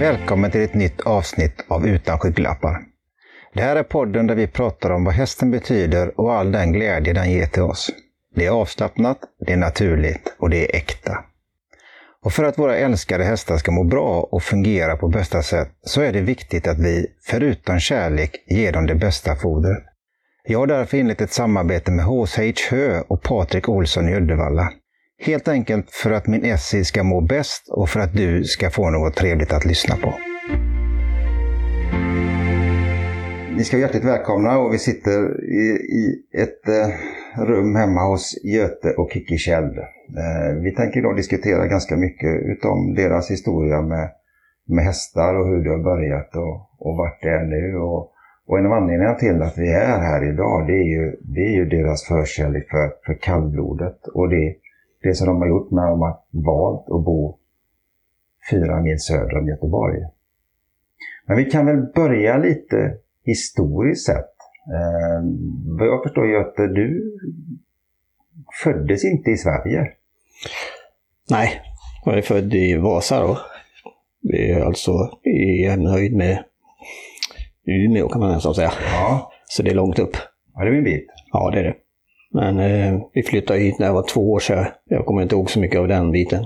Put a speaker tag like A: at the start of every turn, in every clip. A: Välkommen till ett nytt avsnitt av Utan skygglappar. Det här är podden där vi pratar om vad hästen betyder och all den glädje den ger till oss. Det är avslappnat, det är naturligt och det är äkta. Och för att våra älskade hästar ska må bra och fungera på bästa sätt så är det viktigt att vi, förutom kärlek, ger dem det bästa fodret. Jag har därför inlett ett samarbete med HSH Hö och Patrik Olsson i Uddevalla. Helt enkelt för att min SI ska må bäst och för att du ska få något trevligt att lyssna på. Ni ska vara hjärtligt välkomna och vi sitter i, i ett eh, rum hemma hos Göte och Kikki Kjell. Eh, vi tänker idag diskutera ganska mycket utom deras historia med, med hästar och hur det har börjat och, och vart det är nu. Och, och en av anledningarna till att vi är här idag det är ju, det är ju deras förkärlek för, för kallblodet och det, det som de har gjort när de har valt att bo fyra mil söder om Göteborg. Men vi kan väl börja lite historiskt sett. Eh, vad jag förstår Göte, du föddes inte i Sverige.
B: Nej, jag är född i Vasa då. Det är alltså i en höjd med Umeå kan man nästan säga.
A: Ja,
B: Så det är långt upp.
A: ja det är en bit.
B: Ja, det är det. Men eh, vi flyttade hit när jag var två år sedan. Jag kommer inte ihåg så mycket av den biten.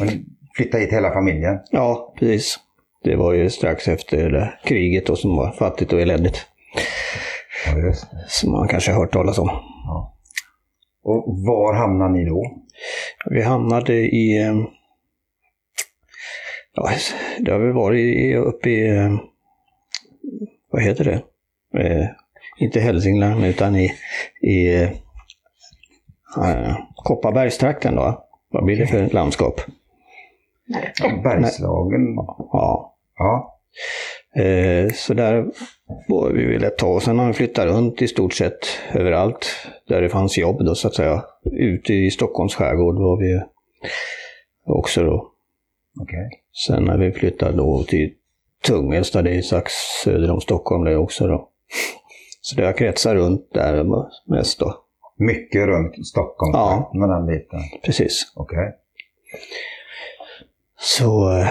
A: Men flyttade hit hela familjen.
B: Ja, precis. Det var ju strax efter det kriget då, som var fattigt och eländigt.
A: Ja, just.
B: Som man kanske har hört talas om.
A: Ja. Och var hamnade ni då?
B: Vi hamnade i... eh, Ja, det har vi varit i- uppe i... eh, Vad heter det? Eh, inte Hälsingland utan i, i eh, Kopparbergstrakten då. Vad blir det för landskap?
A: Bergslagen?
B: Ja.
A: Ja.
B: Eh, så där var vi väl ett tag. Sen har vi flyttat runt i stort sett överallt där det fanns jobb då så att säga. Ute i Stockholms skärgård var vi också då.
A: Okej.
B: Sen när vi flyttade då till Tungelsta, det är strax söder om Stockholm det också då. Så det har kretsat runt där mest då.
A: Mycket runt Stockholm
B: Ja.
A: med den biten.
B: Precis.
A: Okej.
B: Så, eh,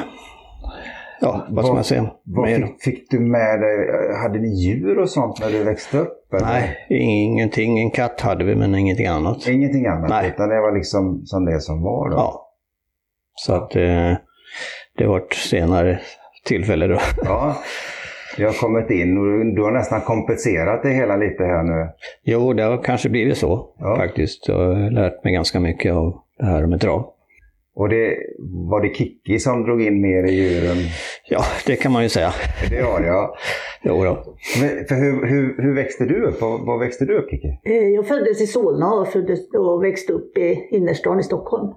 B: ja, vad ska man säga?
A: Vad
B: Mer?
A: fick, fick du med dig? eh, Hade ni djur och sånt när du växte upp? eller?
B: Nej, ingenting. En katt hade vi, men ingenting annat.
A: Ingenting annat?
B: Nej.
A: Utan det var liksom som det som var då?
B: Ja. Så att eh, det vart senare tillfälle då.
A: ja. Du har kommit in och du- du har nästan kompenserat det hela lite här nu.
B: Jo, det har kanske blivit så
A: Ja.
B: faktiskt. Jag har lärt mig ganska mycket av det här med trav.
A: Och det var det Kikki som drog in mer i djuren?
B: Ja, det kan man ju säga.
A: Det var det ja.
B: Jo då.
A: Men, för hur, hur, hur växte du upp? Var, var växte du upp Kikki?
C: Eh, Jag föddes i Solna och, föddes och växte upp i innerstan i Stockholm.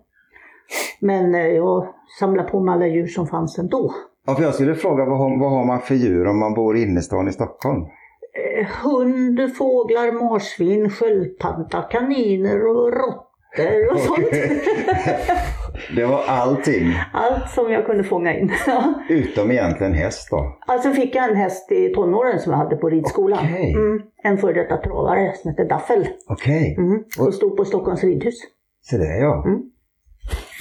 C: Men eh, jag samlade på mig alla djur som fanns ändå.
A: Ja, för jag skulle fråga vad har, vad har man för djur om man bor i innerstan i Stockholm?
C: Eh, Hund, fåglar, marsvin, sköldpadda, kaniner och råttor och sånt.
A: Det var allting,
C: Allt som jag kunde fånga in. Ja.
A: utom egentligen häst då.
C: alltså fick jag en häst i tonåren som jag hade på ridskolan.
A: Okej.
C: Mm, en före detta travare som hette Daffel.
A: Okej,
C: Mm, som stod på Stockholms ridhus.
A: så det är jag.
C: Mm.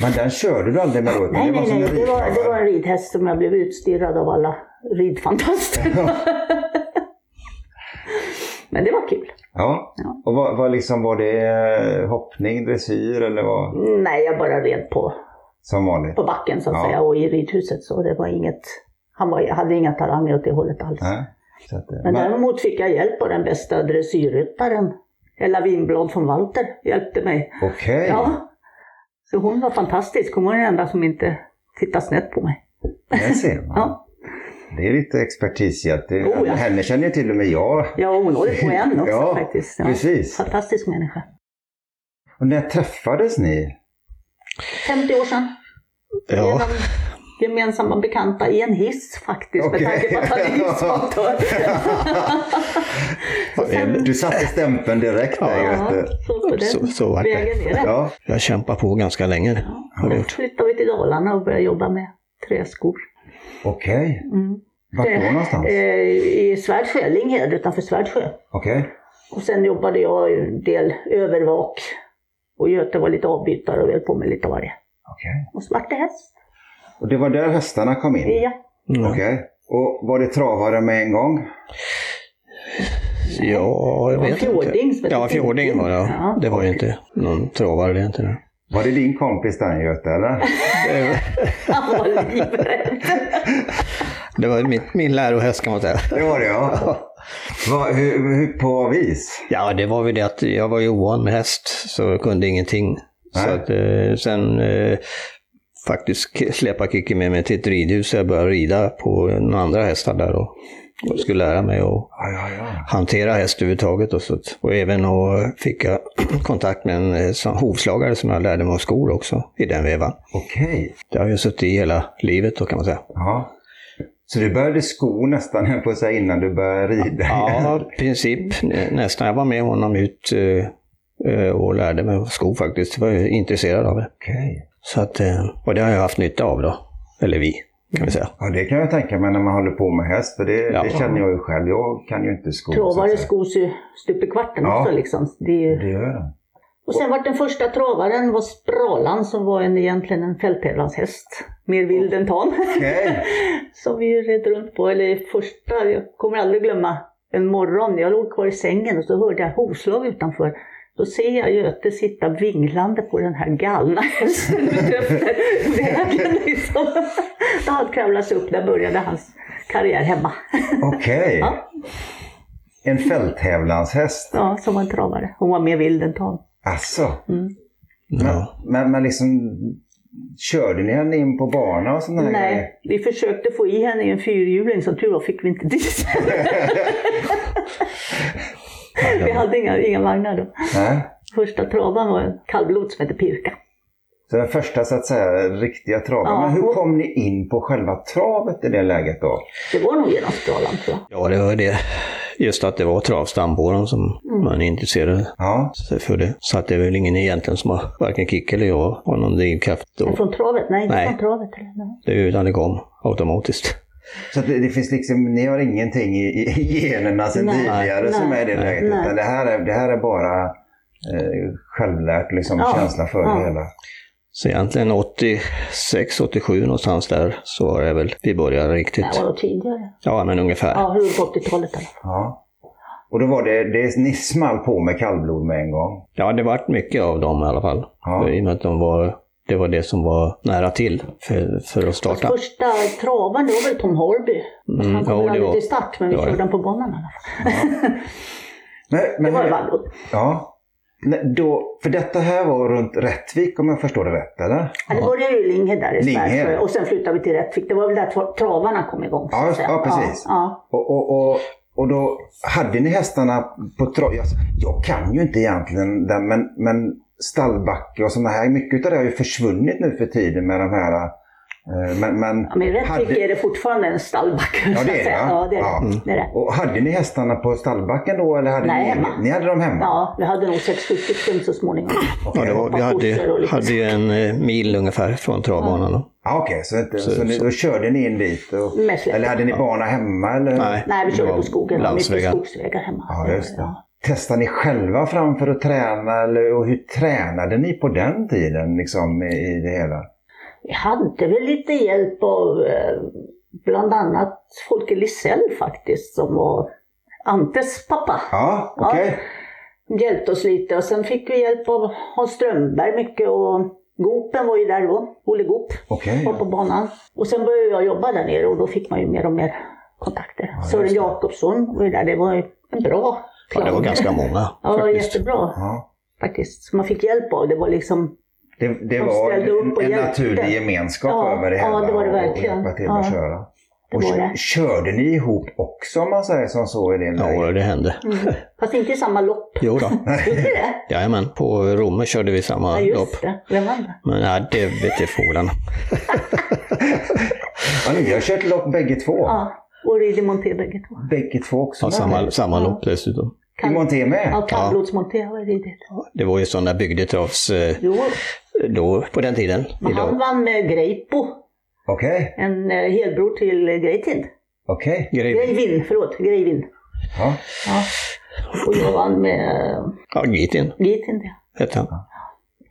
A: Men den körde du aldrig med då? utan
C: Nej,
A: det var
C: nej,
A: som
C: nej.
A: en
C: Det var, det
A: ridkravare.
C: var en ridhäst som jag blev utstirrad av alla ridfantaster. Men det var kul.
A: Ja.
C: Ja.
A: Och vad, vad liksom, var det eh, hoppning, dressyr eller vad?
C: Nej, jag bara red på,
A: Som vanligt?
C: på backen så att
A: Ja.
C: säga och i ridhuset. Så det var inget, han var, hade inga talanger åt det hållet alls.
A: Nej. Så att, eh,
C: Men
A: men,
C: däremot fick jag hjälp av den bästa dressyrryttaren. Ella Winblad från Walter hjälpte mig.
A: Okej.
C: Ja. Så hon var fantastisk. Hon var den enda som inte tittade snett på mig.
A: Där ser man.
C: Ja,
A: Det är lite expertishjälp. Det,
C: Oh, ja.
A: Henne känner ju till och med jag.
C: ja hon håller på än också
A: Ja,
C: faktiskt. Ja.
A: Precis.
C: Fantastisk människa.
A: Och när träffades ni?
C: 50 år sedan.
B: Ja.
C: Genom gemensamma bekanta i en hiss faktiskt,
A: Okej.
C: med tanke på att han är hissmontör. Så sen-
A: Du satte stämpeln direkt där
C: Ja,
A: Göte.
C: så på den
B: Så- så vart det.
C: vägen är det.
A: Ja.
B: Jag kämpar på ganska länge. Har vi
C: Sen
B: gjort.
C: flyttade vi till Dalarna och började jobba med träskor.
A: Okej.
C: Mm.
A: Vart då
C: Eh,
A: någonstans?
C: Eh, I Svärdsjö, Linghed utanför Svärdsjö.
A: Okej.
C: Och sen jobbade jag ju en del övervak. Och Göte var lite avbytare och höll på med lite av varje.
A: Okej.
C: Och så vart det häst.
A: Och det var där hästarna kom in?
B: Mm.
C: Ja.
B: Ja.
A: Okej. Och var det travare med en gång?
B: Ja, jag
C: Det var
B: vet
C: fjording som
B: inte.
C: hette
B: Ja, fjording var det.
C: Ja.
B: Ja. Det var ju inte någon travare det inte. det.
A: Var det din kompis den Göte eller?
C: Han var livrädd.
B: Det var min, min lärohäst kan man säga.
A: Det var det ja. Vad- hur, hur, på vad vis?
B: Ja, det var väl det att jag var ju ovan med häst, så jag kunde ingenting. Så
A: Nej.
B: att, eh, sen eh, faktiskt k- släpa Kikki med mig till ett ridhus, så jag började rida på några andra hästar där och, och skulle lära mig att
A: Ja, ja, ja.
B: hantera häst överhuvudtaget. Och, så, att- och även och fick jag kontakt med en eh, sån hovslagare som jag lärde mig av skor också i den vevan.
A: Okej.
B: Det har jag suttit i hela livet då kan man säga.
A: Ja. Så du började sko nästan höll jag på att säga innan du började rida?
B: Ja, i princip nä- nästan. Jag var med honom ut eh, eh, och lärde mig skor faktiskt. Jag var ju intresserad av det.
A: Okej.
B: Så att, eh, och det har jag haft nytta av då. Eller vi, kan vi säga.
A: Ja, det kan jag tänka mig när man håller på med häst. För det,
B: Ja.
A: det känner jag ju själv. Jag kan ju inte sko. så att
C: Travare
A: säga.
C: skos ju stup i kvarten
A: Ja.
C: också liksom. Det är ju...
A: Det gör jag.
C: Och sen var den första travaren var Spralan som var en, egentligen en fälttävlanshäst. Mer vild än tam.
A: Okej.
C: som vi red runt på. Eller första, jag kommer aldrig glömma, en morgon. Jag låg kvar i sängen och så hörde jag hovslag utanför. Då ser jag Göte sitta vinglande på den här galna hästen ute efter vägen. Liksom. Då han kravlade upp, där började hans karriär hemma.
A: Okej.
C: Ja.
A: En fälttävlanshäst.
C: Ja, som var en travare. Hon var mer vild än tam.
A: Alltså.
C: Mm.
A: Men,
B: Ja.
A: men, men liksom, körde ni henne in på bana och sådana här grejer?
C: Nej, vi försökte få i henne i en fyrhjuling, som tur var fick vi inte dit. vi hade inga, inga vagnar då.
A: Nej.
C: Första travan var en kallblod som hette Pirka.
A: Så den första så att säga riktiga traven.
C: Ja,
A: men hur
C: och-
A: kom ni in på själva travet i det läget då?
C: Det var nog genom Stralan tror jag.
B: Ja, det var det. Just att det var travstammbåren som man intresserade
A: Ja.
B: sig för det. Så att det är väl ingen egentligen som har, varken Kikki eller jag, har någon drivkraft
C: Men
B: då.
C: Från travet? Nej, inte
B: Mm. Nej.
C: från travet. eller? Nej.
B: Det är ju Utan det kom automatiskt.
A: Så att det, det finns liksom, ni har ingenting i, i i generna sedan
C: Nej.
A: tidigare
C: Nej.
A: som är i det
C: Nej.
A: läget.
C: Nej.
A: Utan det här är, det här är bara eh, självlärt, liksom,
C: Ja.
A: känsla för
C: Ja.
A: det hela.
B: Så egentligen 86, 87 någonstans där så var det väl vi började
C: Det
B: riktigt.
C: här var då tidigare.
B: Ja, men ungefär.
C: Ja, runt 80-talet i alla fall.
A: Ja. Och då var det, det, ni small på med kallblod med en gång.
B: Ja, det vart mycket av dem i alla fall.
A: Ja.
B: I och med att de var, det var det som var nära till för, för att
C: Fast
B: starta.
C: första travan det var väl Tom Horby.
B: Mm,
C: Han kom
B: ja,
C: väl
B: det
C: aldrig
B: var-
C: till start, men vi
B: det var
C: körde
B: det.
C: den på banan i alla fall.
A: Men,
C: Det
A: men
C: var
A: hur-
B: Mm.
C: Vallod.
A: Ja. Nej, Då, för detta här var runt Rättvik om jag förstår det rätt, eller?
C: Ja, det började ju i Linghed där i
A: Linghed.
C: Sverige. Och sen flyttade vi till Rättvik. Det var väl där tra- travarna kom igång. så
A: Ja,
C: att säga.
A: ja, precis.
C: Ja,
A: Och, och, och, och då hade ni hästarna på trav. Jag, jag kan ju inte egentligen det, men, men stallbacke och sådana här. Mycket av det har ju försvunnit nu för tiden med de här. eh, Men, men,
C: ja. Men i Rättvik
A: hade,
C: är det fortfarande en stallbacke.
A: Ja, det är det, ja.
C: Ja, det är det.
A: Ja.
C: det, är det.
A: och hade ni hästarna på stallbacken då? Eller hade
C: Nej,
A: ni,
C: hemma.
A: ni hade dem hemma?
C: Ja, vi hade nog 6-7 stycken så småningom.
B: Ja, det var, vi
C: Kossor och
B: hade,
C: lite
B: hade ju en eh, mil ungefär från travbanan. då.
A: Ja, Okej, så, inte, så, ni, då körde ni in dit? Och,
C: Med släp.
A: eller hade ni bana hemma? Eller?
B: Nej,
C: Nej, vi körde
B: det var
C: på skogen. Det var mycket
B: landsvägar.
C: skogsvägar hemma.
A: Ja, just det.
C: Ja.
A: Testade Eh, ni själva fram för att träna? Eller, och hur tränade ni på den tiden liksom, i, i det hela?
C: Vi hade väl lite hjälp av eh, bland annat Folke Lisell faktiskt, som var Antes pappa.
A: Ja, okej.
C: Hjälpte oss lite och sen fick vi hjälp av Hans Strömberg mycket och Gopen var ju där då, Olle Goop
A: Okej.
C: var på banan. Och sen började jag jobba där nere och då fick man ju mer och mer kontakter.
A: just
C: Sören
A: det.
C: Jakobsson var ju där, det var ju en bra
B: Ja, det var ganska många
C: Ja, det var
B: faktiskt.
C: jättebra
A: Ja.
C: faktiskt. Som man fick hjälp av. Det var liksom
A: Det, det
C: De
A: var
C: ställde upp och
A: en
C: hjälpte.
A: naturlig gemenskap
C: Ja,
A: över det
C: ja,
A: hela.
C: det var det
A: och-
C: verkligen.
A: Och hjälpa till att
C: Ja,
A: köra.
C: det
A: och
C: var
A: kö-
C: det.
A: körde ni ihop också om man säger som så i det läget?
B: Ja, det hände.
C: Mm. Fast inte i samma lopp.
B: Jo då.
C: Gjorde det?
B: Jajamän, på Romme körde vi samma
C: Ja,
B: lopp.
C: just det. Vem vann det?
B: Men nej, det vete fåglarna.
A: Ja, ni har kört lopp bägge två.
C: Ja, och Ridi Monté bägge två.
A: Bägge två också.
B: Ja,
A: va?
B: samma, samma
C: Ja.
B: lopp dessutom.
A: I Monté med?
C: Ja, kallblodsmonté har jag ridit.
B: Det var ju sådana bygdetravs eh,
C: Jo,
B: då, på den tiden.
C: men han
B: Idag.
C: vann med Greipo,
A: Okej,
C: en eh, helbror till eh, Grejtind.
A: okej.
B: Grej-
C: Grejvin, förlåt, Grejvin.
A: Ja.
C: Ja. Och jag vann med eh,
B: Ja, Gitin
C: Grejtind, ja.
B: hette han.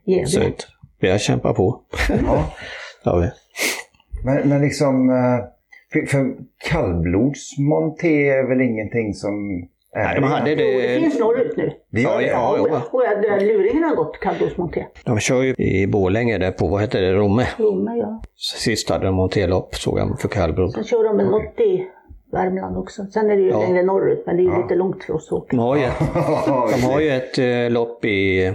C: Gävle.
B: Så att vi har kämpat på.
A: Ja.
B: Ja, vi.
A: Men, men liksom, eh, för, för kallblodsmonté är väl ingenting som är...
B: Nej, de hade
C: Jo, det
B: det...
C: finns norrut nu.
A: Vi har
B: Ja,
A: det.
B: ja, jo.
C: Och jag, där luringen har gått kallblodsmonté.
B: De kör ju i Borlänge där på, vad heter det, Romme.
C: Romme, ja.
B: Sist hade de monterlopp såg jag för kallblod.
C: Sen kör de väl något i Värmland också. Sen är det ju
B: Ja.
C: längre norrut, men det är ju
A: Ja.
C: lite långt för oss att åka.
B: De har ju ett, de har ju ett eh, lopp i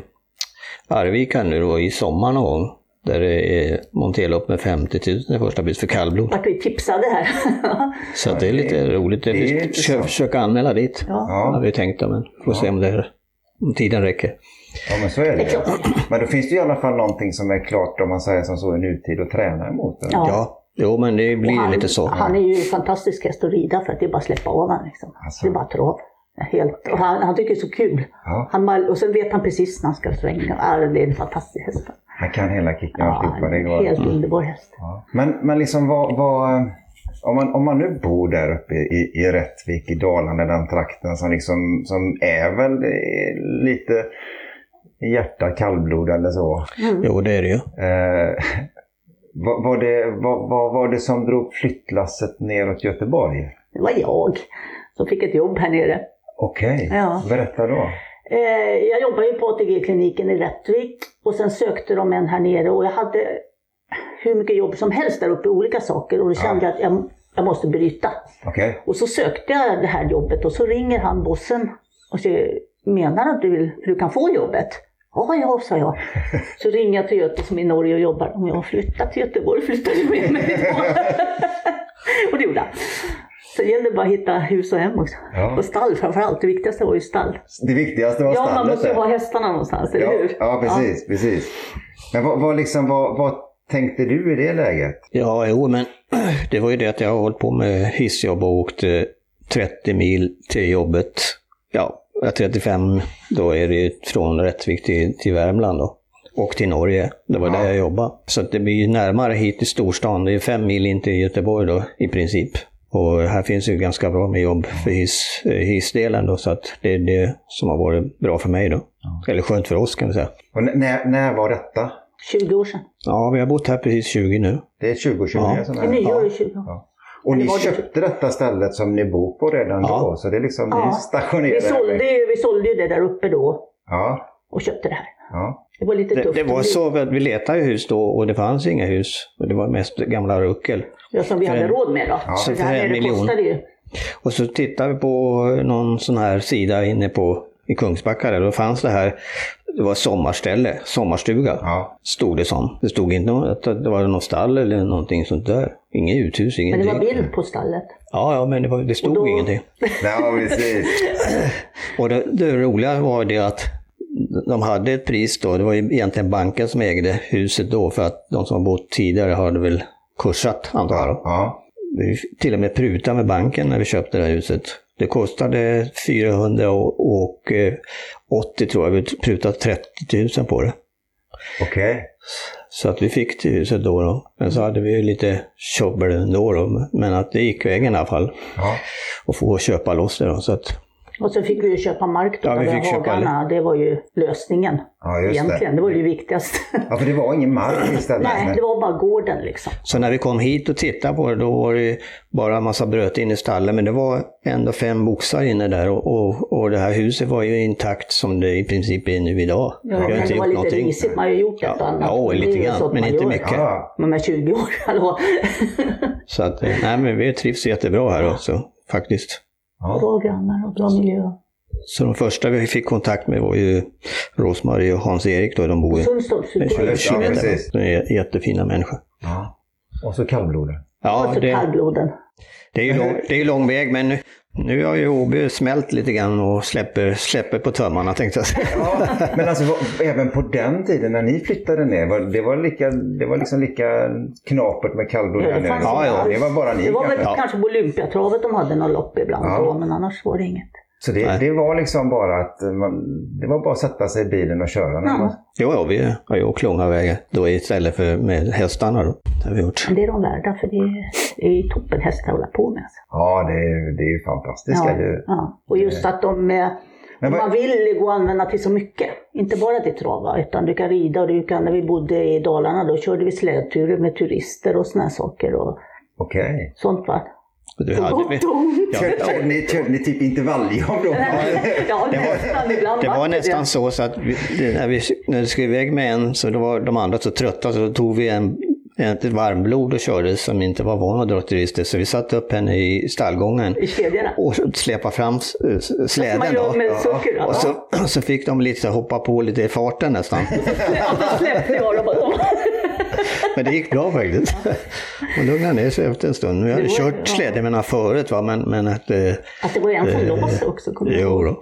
B: Arvika nu då i sommar någon gång. Där det är monterlopp med 50 000 i första bit för kallblod.
C: Vart vi tipsade här.
B: Så att det är lite roligt. Det
A: det är
B: vi ska
A: intressant.
B: försöka anmäla dit.
C: ja.
A: Ja.
B: Har vi tänkt då, men får se om, det, om tiden räcker.
A: Ja, men så är det
C: Det är klart.
A: ju. Men då finns det i alla fall någonting som är klart om man säger som så i nutid och träna emot. eller?
C: Ja.
B: Ja, jo men det blir
C: han,
B: lite så.
C: Han är ju fantastisk häst att rida för att det är bara att släppa av honom. Liksom.
A: Alltså.
C: Det är bara trav. Helt. Och han, han tycker det är så kul.
A: Ja,
C: Han, mal- och sen vet han precis när han ska svänga. Ah, det är en fantastisk häst.
A: han kan hela kicken och
C: Ja,
A: alltihopa.
C: han
A: Det
C: är
A: går.
C: en helt underbar häst.
A: Ja. Men, men liksom vad, vad, om, man, om man nu bor där uppe i, i Rättvik, i Dalarna, den trakten som, liksom, som är väl eh, lite hjärta, kallblod eller så.
B: Jo det är det ju.
A: Eh, vad, var det, vad, vad var det som drog flyttlasset neråt Göteborg?
C: Det var jag som fick ett jobb här nere.
A: Okej,
C: Ja.
A: berätta då.
C: Eh, jag jobbade ju på ATG-kliniken i Rättvik och sen sökte de en här nere och jag hade hur mycket jobb som helst där uppe, olika saker och då kände jag att jag, jag måste bryta.
A: Okej.
C: Och så sökte jag det här jobbet och så ringer han bossen och säger Menar du att du, vill, du kan få jobbet? Ja, ja, sa jag. Så ringer jag till Göte som är i Norge och jobbar. Om jag flyttar till Göteborg, flyttar du med mig då? och det gjorde han. Så det gällde bara att hitta hus och hem också.
A: Ja.
C: Och stall framförallt. Det viktigaste var ju stall.
A: Det viktigaste var
C: Ja, man måste ju
A: där.
C: ha hästarna någonstans, eller
A: ja,
C: hur?
A: ja, precis. precis. Men vad, vad, liksom, vad, vad tänkte du i det läget?
B: Ja, jo, men det var ju det att jag har hållit på med hissjobb och åkt eh, 30 mil till jobbet. Ja, 35, då är det ju från Rättvik till, till Värmland då. Och till Norge. Det var där jag jobbade. Så att det blir ju närmare hit till storstan. Det är fem mil in till Göteborg då, i princip. Och här finns ju ganska bra med jobb för hiss, eh, hissdelen då, så att det är det som har varit bra för mig då. Eller skönt för oss kan vi säga.
A: Och n- när, när var detta?
C: 20 år sedan.
B: Ja, vi har bott här precis 20 nu.
A: Det är 2020
B: Ja.
A: som
C: I
A: är.
C: nyår är 20 år.
A: Ja. Och ni
C: Det var det.
A: köpte detta stället som ni bor på redan
B: Ja.
A: då, så det är liksom ni
C: Ja.
A: stationerade.
C: Vi sålde, ju, vi sålde ju det där uppe då
A: Ja,
C: och köpte det här.
A: ja.
C: Det var lite
B: Det,
C: tufft.
B: det var så att vi letade ju hus då och det fanns inga hus. Och det var mest gamla ruckel.
C: Ja, som vi
B: För
C: hade
B: en-
C: råd med då.
A: Ja.
C: För
B: Så
C: det här
B: för en
C: nere
B: miljon.
C: kostade ju.
B: Och så tittade vi på någon sån här sida inne på i Kungsbacka där. Då fanns det här, det var sommarställe, sommarstuga.
A: ja.
B: Stod det som. Det stod inte något, att det var någon stall eller någonting sånt där. Inget uthus,
C: Men det
B: ingenting.
C: var bild på stallet.
B: Ja, ja, men det, var, det stod
C: då-
B: ingenting.
A: ja, precis.
B: Och det, det roliga var det att de hade ett pris då, det var ju egentligen banken som ägde huset då för att de som har bott tidigare hade väl kursat antar jag. då.
A: Ja.
B: Vi till och med prutade med banken när vi köpte det här huset. Det kostade 480 eh, tror jag, vi prutade 30 000 på det.
A: Okej.
B: Så att vi fick till huset då. då. Men så hade vi ju lite tjobbel ändå då, men att det gick vägen i alla fall.
A: Ja.
B: Att få köpa loss det då. Så att,
C: Och så fick vi ju köpa mark då.
B: Ja, vi
C: där
B: fick köpa
C: hagarna. Det var ju lösningen.
A: ja, just
C: Egentligen,
A: det. Mm.
C: det var ju det viktigaste.
A: Ja, för det var ingen mark i stället.
C: Nej, det var bara gården liksom.
B: så när vi kom hit och tittade på det, då var det ju bara en massa bröt in i stallen. Men det var ändå fem boxar inne där och, och, och det här huset var ju intakt som det i princip är nu idag. Vi
C: Ja, men det var lite risigt, man har ju gjort ett och
B: Ja,
C: annat.
B: ja,
C: Det är
B: lite
C: ju
B: grann,
C: sånt
B: men
C: man
B: inte
C: gör.
B: mycket.
A: Ja.
C: Men med 20 år, hallå.
B: Så att, eh, nej men vi trivs jättebra här också, faktiskt.
A: Ja.
C: bra grannar och bra miljö.
B: Så de första vi fick kontakt med var ju Rosmarie och Hans-Erik då, de bor ju
C: Sundstorpsutgården.
A: Ja,
B: 20 kilometer.
A: precis.
B: De är jättefina människor.
A: ja. Och så kallblodet.
B: Ja,
C: Alltså
B: det,
C: kallbloden.
B: det är ju lång, det är ju lång väg, men nu, nu har ju Åby smält lite grann och släpper, släpper på tömmarna tänkte jag säga.
A: Ja, men alltså vad- även på den tiden när ni flyttade ner, var, det, var lika, det var liksom lika knapert med kallblod
C: Ja,
A: där
C: det,
A: nere.
C: fanns
B: Ja,
C: inte
B: ja,
C: alls.
A: det var bara ni
C: Det var väl
A: kanske.
C: kanske på Olympiatravet de hade någon lopp ibland
A: Ja.
C: då, men annars var det inget.
A: Så det,
B: Nej.
A: det var liksom bara att man, det var bara att sätta sig i bilen och köra. när
C: Ja.
A: man-
B: Jo, ja, vi har ju åkt långa vägar då istället för med hästarna då. Det har vi gjort.
C: Men det är de värda, för det är, det är toppenhästar att hålla på med. Alltså.
A: ja det, är- det är ju fantastiskt.
C: Ja,
A: är ju.
C: ja. Och just att de eh,
A: Men vad-
C: Man vill gå och använda till så mycket. Inte bara till trava, utan du kan rida och du kan, när vi bodde i Dalarna då körde vi slädturer med turister och såna här saker och
A: Okej.
C: sånt va.
B: Du
C: På
B: hade,
C: gott och ont.
B: Ja,
A: Körde, körde, ni, körde ni typ intervalljobb då?
C: Ja, nästan ibland.
B: det var
C: det
B: nästan så, så att vi, det- när vi när vi skulle iväg med en så då var de andra så trötta så då tog vi en, en ett varmblod och körde som inte var van att dra turister. Så vi satte upp henne i stallgången
C: I kedjorna.
B: och släpade fram s- s-
C: Som man
B: släden.
C: gör
B: Då.
C: med socker.
B: Och
C: Ja.
B: så, så fick de lite hoppa på lite i farten nästan.
C: Ja, då släppte jag dem. och-
B: Men det gick bra faktiskt. Hon lugnade ner sig efter en stund. Vi hade
C: Det var-
B: kört
C: ja.
B: släde med henne förut, va? Men, men att... Eh,
C: Att det var Alltså, en som
B: Eh,
C: låste också. kommer jag
B: jo
C: ihåg.
B: då.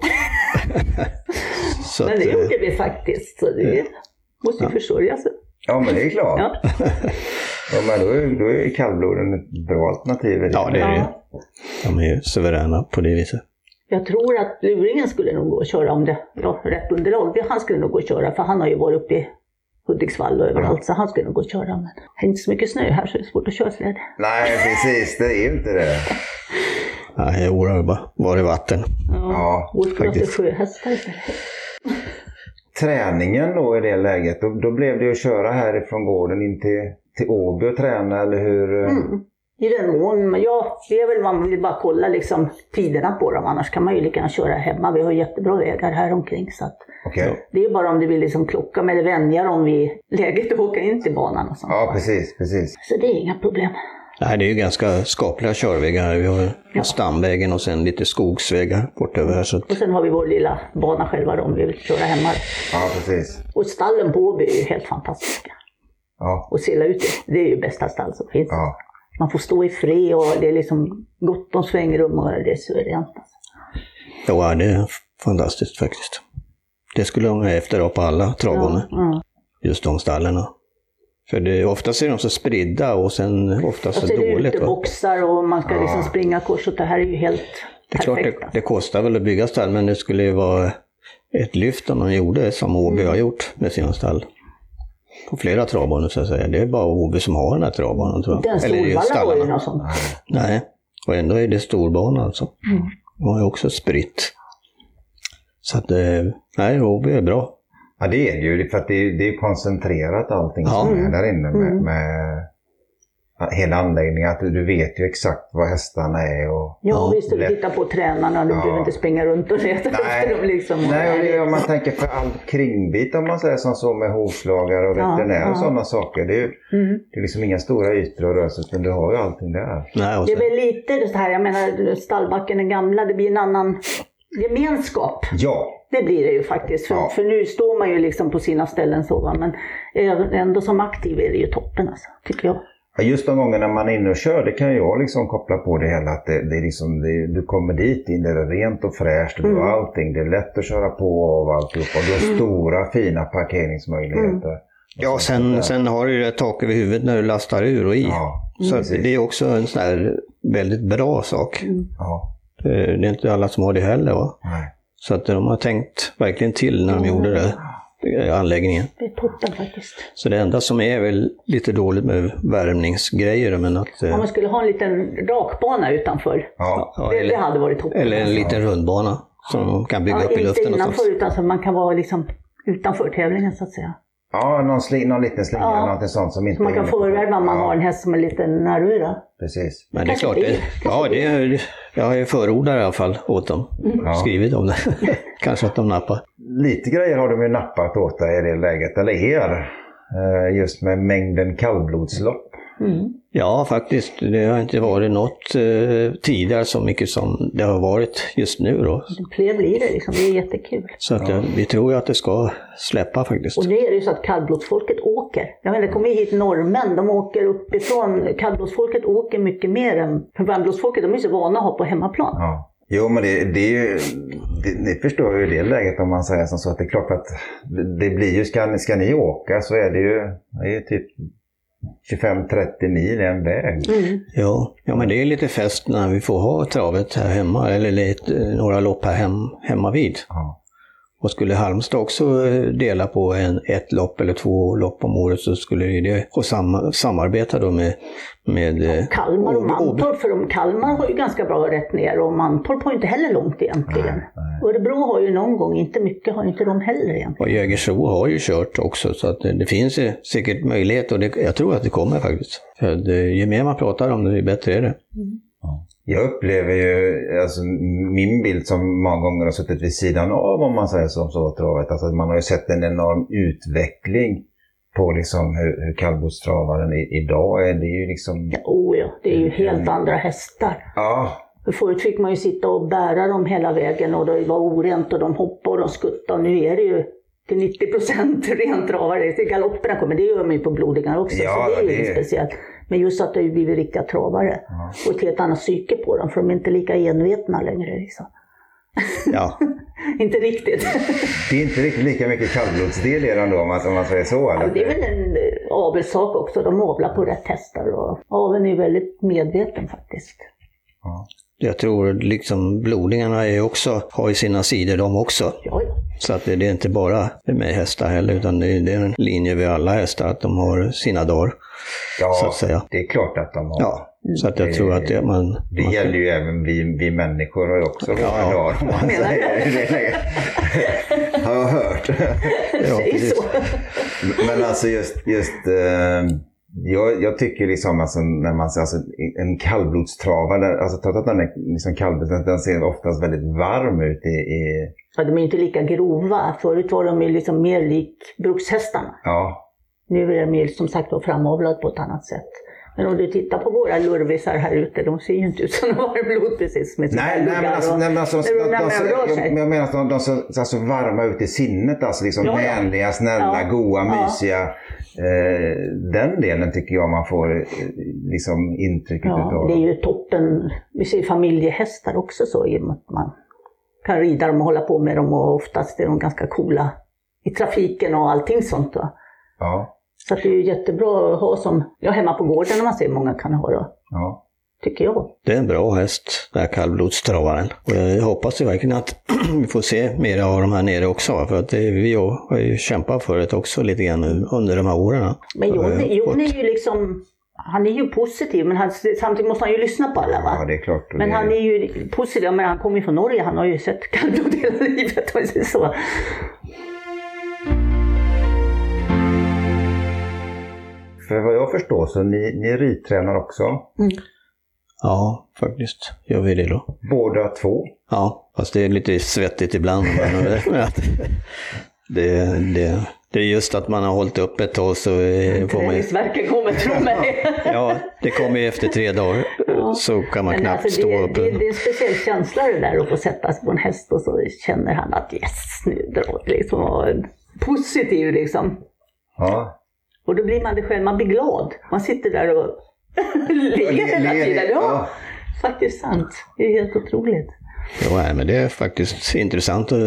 B: så
C: Men det
B: eh,
C: gjorde vi faktiskt. Så det måste ju försörja sig.
A: Ja, men det är klart. Ja.
C: Ja.
A: men då, är- då är kallbloden ett bra alternativ.
B: Ja, det är det ju. De är ju suveräna på det viset.
C: Jag tror att luringen skulle nog gå och köra om det ja, rätt underlag. Det- Han skulle nog gå och köra för han har ju varit uppe i Hudiksvall och överallt så han skulle nog gå och köra. Men det är inte så mycket snö här så det är svårt att köra släde.
A: Nej, precis. Det är ju inte det.
B: Nej, jag oroar mig bara. Var det vatten?
A: Ja,
C: Går skulle ha till
B: faktiskt.
C: sjöhästar istället.
A: Träningen då i det läget, då, då blev det ju att köra härifrån gården in till, till Åby och träna, eller hur? eh?
C: Mm. I den mån, men ja, det är väl man vill bara kolla liksom tiderna på dem. Annars kan man ju lika gärna köra hemma. Vi har jättebra vägar här omkring så att
A: Okej.
C: Det är bara om du vill liksom klocka med eller vänja dem vid läget och åka in till banan och sånt.
A: Ja, precis, precis.
C: Så det är inga problem.
B: Nej, det är ju ganska skapliga körvägar här. Vi har
C: Ja.
B: stamvägen och sen lite skogsvägar bortöver här. Så att,
C: Och sen har vi vår lilla bana själva då, om vi vill köra hemma.
A: Ja, precis.
C: Och stallen på Åby är ju helt fantastiska.
A: Ja,
C: Och sela ut det, det är ju bästa stall som finns.
A: ja.
C: Man får stå i fred och det är liksom gott om svängrum och det är suveränt.
B: ja, det är fantastiskt faktiskt. Det skulle de efter på alla travbanor.
C: ja.
B: just de stallarna. För det, oftast är de så spridda och sen
C: Och
B: oftast
C: så
B: så
C: är Alltså, det
B: dåligt. Va?
C: uteboxar och man ska
A: Ja.
C: liksom springa kors och det här är ju helt
B: Det är klart
C: perfekt.
B: det, det kostar väl att bygga stall, men det skulle ju vara ett lyft om de gjorde som Åby
C: Mm.
B: har gjort med sina stall. På flera travbanor så att säga. Det är bara Åby som har den här travbanan tror jag.
C: Den
B: Eller just
C: Solvalla var ju
B: stallarna.
C: något sånt.
B: Nej, och ändå är det storbana alltså.
C: Mm.
B: De har ju också spritt. Så att, eh, nej, Åby är bra.
A: Ja, det är det ju. För att det, är- det är koncentrerat allting
B: Ja.
A: som är där inne med,
C: Mm.
A: med hela anläggningen. Att du, du vet ju exakt vad hästarna är och...
C: Ja,
B: Ja,
C: visst, och du
A: lätt.
C: tittar på tränarna. Du
A: Ja.
C: behöver inte springa runt och leta
A: Nej.
C: efter dem. Liksom.
A: Nej, och det är om man tänker för all kringbit om man säger som så med hovslagare och
C: Ja,
A: veterinär
C: ja.
A: och sådana saker. Det är ju
C: Mm.
A: det är liksom inga stora ytor att röra sig utan du har ju allting där.
B: Nej, och
C: Det är
B: sen,
C: väl lite så här, jag menar stallbacken den gamla, det blir en annan gemenskap.
A: Ja,
C: Det blir det ju faktiskt. För,
A: Ja.
C: för nu står man ju liksom på sina ställen så. Va? Men även- ändå som aktiv är det ju toppen alltså, tycker jag.
A: Ja, just de gångerna man är inne och kör, det kan jag liksom koppla på det hela. Att det, det är liksom, det, du kommer dit, in, det är rent och fräscht, du
C: Mm.
A: har allting. Det är lätt att köra på av alltihopa. Du har stora fina parkeringsmöjligheter.
C: Mm.
B: ja, sen, sen har du ju ett tak över huvudet när du lastar ur och i.
A: Ja,
B: Så att
A: precis.
B: det är också en sån här väldigt bra sak.
C: Mm.
A: Ja,
B: Eh, Det är inte alla som har det heller. Va?
A: nej.
B: Så att de har tänkt verkligen till när de gjorde det, eh, anläggningen.
C: Det är toppen faktiskt.
B: Så det enda som är väl lite dåligt med värmningsgrejer, men att... eh,
C: Om man skulle ha en liten rakbana utanför.
A: Ja,
B: ja,
C: det, det
B: eller,
C: hade varit toppen.
B: eller en liten rundbana som de kan bygga
C: ja,
B: upp i
C: inte
B: luften
C: innanför
B: någonstans.
C: utan så man kan vara liksom utanför tävlingen så att säga.
A: ja någon, sli, någon liten slinga
C: Ja.
A: eller någonting sånt som inte
C: Så man
A: är
C: kan
B: Mm.
A: inne på-
C: förvärva om man
A: ja,
C: har en häst som är lite nervös. då.
A: Precis.
B: Men det är
C: Kanske
B: klart,
C: bil.
B: det, ja, det är, jag har ju förordar i alla fall åt dem.
C: Mm.
A: Ja.
B: Skrivit om det. Kanske att de nappar.
A: Lite grejer har de ju nappat åt dig i det läget, eller er. Eh, Just med mängden kallblodslopp.
C: Mm.
B: Ja, faktiskt. Det har inte varit något eh, tidigare så mycket som det har varit just nu. Då.
C: Fler blir det liksom, det är jättekul.
B: Så att, eh, vi tror ju att det ska släppa faktiskt.
C: Och nu är det ju så att kallblodsfolket åker. Jag menar, det kommer ju hit norrmän, de åker uppifrån. Kallblodsfolket åker mycket mer än för varmblodsfolket. De är ju så vana att ha på hemmaplan.
A: Ja. Jo, men det, det är ju, det, ni förstår ju det läget om man säger som så att det är klart att det, det blir ju, ska, ni- ska ni åka så är det ju, det är ju typ 25-30 mil en väg.
C: Mm.
B: Ja. ja, men det är lite fest när vi får ha travet här hemma, eller lite, eh, några lopp här hem, hemma vid.
A: Ja.
B: Och skulle Halmstad också eh, dela på en, ett lopp eller två lopp om året så skulle ju det och sam, samarbeta då med, med eh,
C: Kalmar och
B: Åby- Åby.
C: Mantorp, för de Kalmar har ju ganska bra rätt ner och Mantorp har ju inte heller långt egentligen. Örebro har ju någon gång, inte mycket har ju inte de heller egentligen.
B: Och Jägersro har ju kört också, så att eh, det, det finns ju säkert möjlighet och det, jag tror att det kommer faktiskt. För det, ju mer man pratar om det, ju bättre är det.
A: Jag upplever ju, alltså min bild som många gånger har suttit vid sidan av om man säger som så, travet, alltså att man har ju sett en enorm utveckling på liksom hur, hur kallblodstravaren i- idag är. Det är ju liksom,
C: Ja, oh ja, det är ju helt andra hästar.
A: ja,
C: För förut fick man ju sitta och bära dem hela vägen och det var orent och de hoppade och de skuttade. Och nu är det ju till 90 procent rentravare. Till Galopperna kommer, det gör man ju på blodingar också.
A: Ja,
C: så det är ju
A: det-
C: inget speciellt. Men just att det har ju blivit riktiga travare. Och ett helt annat psyke på dem, för de är inte lika envetna längre. Liksom.
B: Ja,
C: Inte riktigt.
A: det är inte riktigt lika mycket kallblodsdel i den då om man, om man säger så.
C: Ja,
A: Eller?
C: men det är väl en eh, avelssak också, de avlar på rätt hästar. Och aveln är ju väldigt medveten faktiskt.
A: Ja.
B: jag tror liksom blodingarna är ju också, har ju sina sidor de också.
C: Ja, ja.
B: Så att det, det är inte bara med hästar heller, utan det, är- det är en linje vid alla hästar, att de har sina dagar.
A: Ja,
B: så att säga.
A: det är klart att de har.
B: Ja, så att jag tror att det, man...
A: Det
B: man
A: gäller ju även vi, vi människor har ju också våra dagar om man
C: Menar
A: säger det. Har jag hört.
B: ja,
C: det är
B: precis.
C: så.
A: Men alltså just, just eh, jag, jag tycker liksom alltså när man ser alltså en kallblodstravare, alltså trots att den är liksom kallblods, den ser oftast väldigt varm ut i, i
C: Ja, de är inte lika grova. Förut var de ju liksom mer lik brukshästarna.
A: ja,
C: Nu är de ju som sagt var framavlade på ett annat sätt. Men om du tittar på våra lurvisar här ute, de ser ju inte ut som de har i blod precis. Med sina
A: Nej, nej, men
C: luggar
A: alltså,
C: och-
A: nej, men alltså, de, de,
C: när de- när de rör
A: de,
C: sig.
A: de, jag menar att de, de ser ser så varma ut i sinnet. Alltså, liksom
C: Ja, ja.
A: vänliga, snälla,
C: Ja.
A: goa,
C: Ja.
A: mysiga. Eh, den delen tycker jag man får eh, liksom intrycket
C: Ja,
A: utav.
C: det är ju toppen. Vi ser ju familjehästar också så i och med att man kan rida dem och hålla på med dem och oftast är de ganska coola i trafiken och allting sånt. Va?
A: Ja,
C: Så att det är ju jättebra att ha som, ja hemma på gården om man ser många kan ha det,
A: ja.
C: tycker jag.
B: Det är en bra häst, den här kallblodstravaren. Och jag hoppas ju verkligen att vi får se mera av de här nere också. va? För att det, vi har ju kämpat för det också lite grann nu under de här åren.
C: Men
B: Så
C: Jon,
B: jag har
C: Jon
B: fått-
C: är ju liksom, han är ju positiv men han, samtidigt måste han ju lyssna på alla va?
A: ja, det är klart. Och
C: Men
A: det,
C: han är ju positiv, men han kommer ju från Norge, han har ju sett kallblod hela livet. om jag säger Så.
A: För vad jag förstår så ni, ni ridtränar också.
B: Ja, faktiskt gör vi det då.
A: Båda två.
B: Ja, fast det är lite svettigt ibland. Men men att det, det, det är just att man har hållit upp ett tag så eh, får man ju-
C: Träningsvärken kommer, tro mig.
B: Ja, det kommer ju efter tre dagar.
C: Ja.
B: Så kan man
C: Men
B: knappt
C: alltså,
B: stå
C: det,
B: upp.
C: det, det är en speciell känsla det där att få sätta sig på en häst och så känner han att yes, nu drar vi liksom. och en Positiv liksom.
A: Ja.
C: Och då blir man det själv, man blir glad. Man sitter där och ler hela
A: Ler- ler-
C: tiden.
A: ja.
C: Ja, faktiskt sant. Det är helt otroligt.
B: Ja, nej, men det är faktiskt intressant att,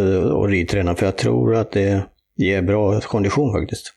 B: att ridträna för jag tror att det ger bra kondition faktiskt.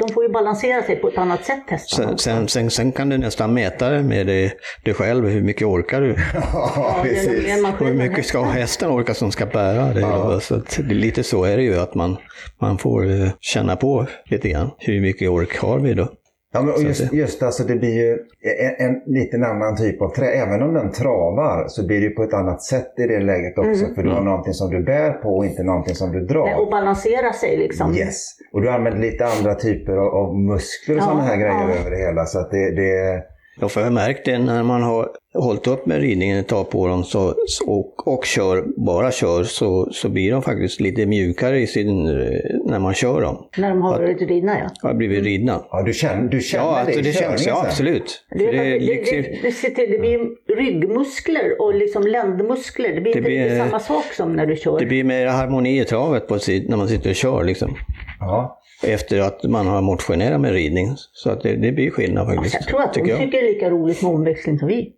C: De får ju balansera sig på ett annat sätt hästarna.
B: Sen, sen, sen, sen kan du nästan mäta det med dig, dig själv, hur mycket orkar du?
A: ja,
C: Ja, det är nog
A: precis.
C: mer man
B: Och hur
C: själv än
B: mycket ska hästen orka som ska bära det? Ja. Så att, det- lite så är det ju, att man, man får eh, känna på lite grann. Hur mycket ork har vi då?
A: Ja, men och
B: Så
A: just,
B: att det-
A: just alltså det blir ju en, en liten annan typ av trä. Även om den travar så blir det ju på ett annat sätt i det läget också. För du
B: Mm.
A: har någonting som du bär på och inte någonting som du drar.
C: Mm. Nej, Eh, och balansera sig liksom.
A: Yes. Och du använder lite andra typer av, av muskler och
C: Ja,
A: sådana här grejer
C: ja.
A: över det hela. Så att det, det
B: Ja, för jag har märkt det när man har hållit upp med ridningen ett tag på dem så, så- och, och kör, bara kör, så, så blir de faktiskt lite mjukare i sin, eh, när man kör dem.
C: När de har varit ridna ja.
B: Har blivit ridna.
A: ja, du känner, du känner
B: Ja,
A: det
B: alltså
A: i
B: det känns,
A: körningen
B: ja
A: sen.
B: absolut.
C: Du
B: För
C: vet att
B: det,
C: Det, det,
B: liksom,
C: det, det, sitter- det blir ryggmuskler och liksom ländmuskler. Det blir
B: Det
C: inte
B: blir,
C: riktigt
B: eh,
C: samma sak som när du kör.
B: det blir mer harmoni i travet på sitt, när man sitter och kör. Liksom.
A: Ja.
B: Efter att man har motionerat med ridning. Så att det, det blir skillnad faktiskt.
C: Alltså, jag tror att de
B: tycker jag.
C: tycker det är lika roligt med omväxling som vi.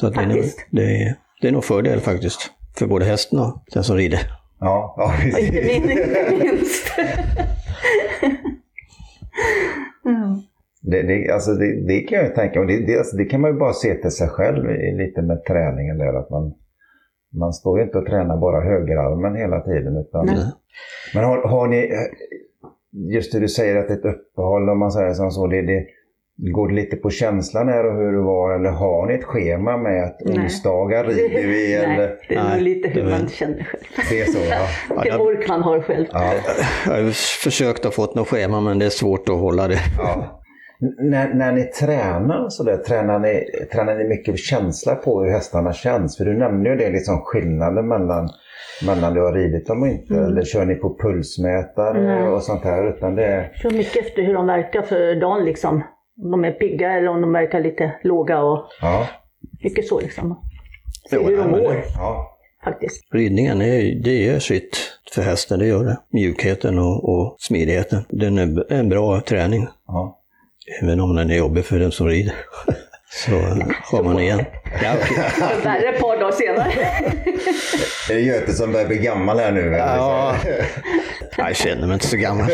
B: Så att det, är nog,
C: faktiskt.
B: det, är, det är nog fördel faktiskt. För både hästen och den som rider.
A: Ja, ja,
C: Och inte
A: precis.
C: minst. Inte minst.
A: Det, det, alltså det, det kan jag ju tänka. Och det, det, alltså det kan man ju bara se till sig själv i, lite med träningen där. Att man, Man står ju inte och tränar bara högerarmen hela tiden. Utan,
C: Nej.
A: men har, har ni, just det du säger att det är ett uppehåll om man säger som så, det, det, går det lite på känslan här och hur det var eller har ni ett schema med att
C: Nej.
A: onsdagar rider vi eller
C: Nej, det är
B: Nej,
C: nog lite hur
B: det är-
C: man känner själv.
A: det är så? Ja.
C: Det
B: jag-
C: ork man har själv.
A: Ja.
B: Jag har ju försökt att få något schema men det är svårt att hålla det.
A: Ja. N- När, när ni tränar så där, tränar ni, tränar ni mycket känsla på hur hästarna känns? För du nämnde ju det, liksom skillnaden mellan, mellan du har ridit dem och inte. Eller kör ni på pulsmätare
C: Nej.
A: och sånt här? Utan det är,
C: Så mycket efter hur de verkar för dagen liksom. Om de är pigga eller om de verkar lite låga och
A: ja.
C: mycket så liksom. Se
B: Jo,
C: hur de
B: nej, men
C: mår
B: det-
A: Ja.
C: faktiskt.
B: Ridningen är, det gör sitt för hästen, det gör det. Mjukheten och, och smidigheten. Den är b- en bra träning,
A: ja.
B: även om den är jobbig för den som rider. Så eh, har man igen. Ja, okej.
C: Värre ett par dagar senare.
A: Är det Göte som börjar bli gammal här nu? eller?
B: Ja. Jag känner mig inte så gammal.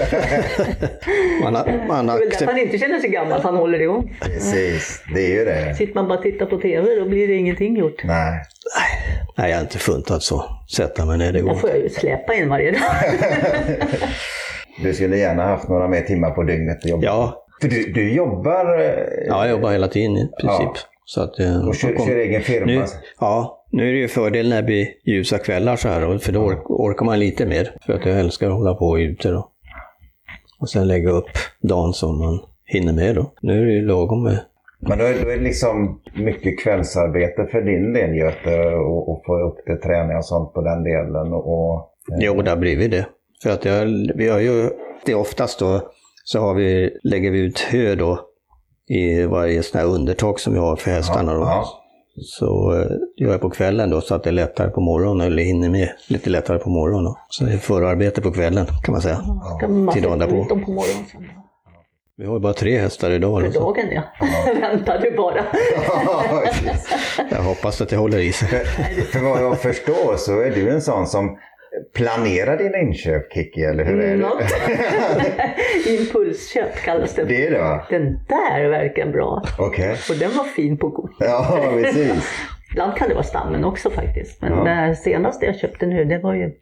B: Man, har- man,
C: Det är väl därför
B: accept,
C: han inte känner sig gammal, för han håller igång.
A: liksom. Precis, det är ju det.
C: Sitter man bara och tittar på TV då blir det ingenting gjort.
A: Nej.
B: nej, jag har inte funtat så. Sätta mig ner, det går
C: Där
B: inte.
C: får jag ju släpa in varje dag.
A: Du skulle gärna haft några mer timmar på dygnet att jobba.
B: Ja,
A: För du, du jobbar eh,
B: ja, jag jobbar hela tiden i princip.
A: Ja.
B: Så att, eh,
A: och kör,
B: man kom-
A: kör egen firma?
B: nu, ja, nu är det ju fördel när det blir ljusa kvällar så här, och- för då ork, orkar man lite mer. För att jag älskar att hålla på ute då. Och sen lägga upp dagen som man hinner med då. Nu är det ju lagom med.
A: Men då är då är det liksom mycket kvällsarbete för din del Göte och, och få upp det träning och sånt på den delen. Och, och,
B: Jo, det har blivit det. För att jag, vi har ju, det är oftast då, så har vi, lägger vi ut hö då i varje sån här undertak som vi har för hästarna då.
A: ja,
B: Så eh, det gör jag på kvällen då så att det är lättare på morgonen, eller hinner med lite lättare på morgonen. Då. Så det är förarbete på kvällen kan man säga.
C: Ska man
B: Till dagen
C: sätta
B: därpå.
C: ut dem på morgonen sen då.
B: Vi har ju bara tre hästar idag. liksom. Då,
C: För
B: så
C: dagen ja. Väntar du bara.
B: jag hoppas att det håller i sig.
A: för, för vad jag förstår så är du en sån som planerar dina inköp Kiki, eller hur är det?
C: Något. Impulsköp kallas det.
A: Det är det va?
C: Den där verkar bra.
A: Okej.
C: Och den var fin på kort.
A: Ja, precis.
C: Ibland kan det vara stammen också faktiskt. Men
A: Ja.
C: det här senaste jag köpte nu, det var ju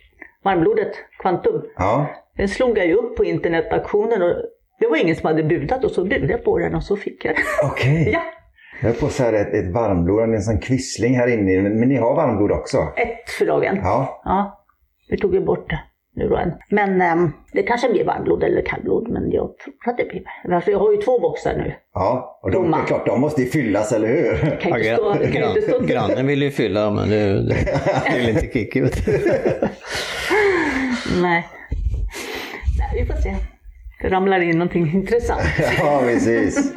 C: varmblodet, Quantum.
A: Ja,
C: Den slog jag ju upp på internetauktionen och det var ingen som hade budat och så budade jag på den och så fick jag den.
A: okej.
C: Ja,
A: Jag höll på att säga ett, ett varmblod, en sån kvissling här inne. Men, men ni har varmblod också?
C: ett för dagen. Ja.
A: Ja,
C: vi tog ju bort det nu då än. Men ehm, det kanske blir varmblod eller kallblod, men jag tror att det blir varmblod. Jag har ju två boxar nu.
A: ja. Och de, det är klart, de måste ju fyllas, eller hur?
C: Kan
B: Ja,
C: inte stå,
B: gran-
C: kan inte stå.
B: gran- grannen vill ju fylla dem, men det, det vill inte Kikki. vet du.
C: Nej. Nej, vi får se. Det ramlar in någonting intressant.
A: Ja, precis.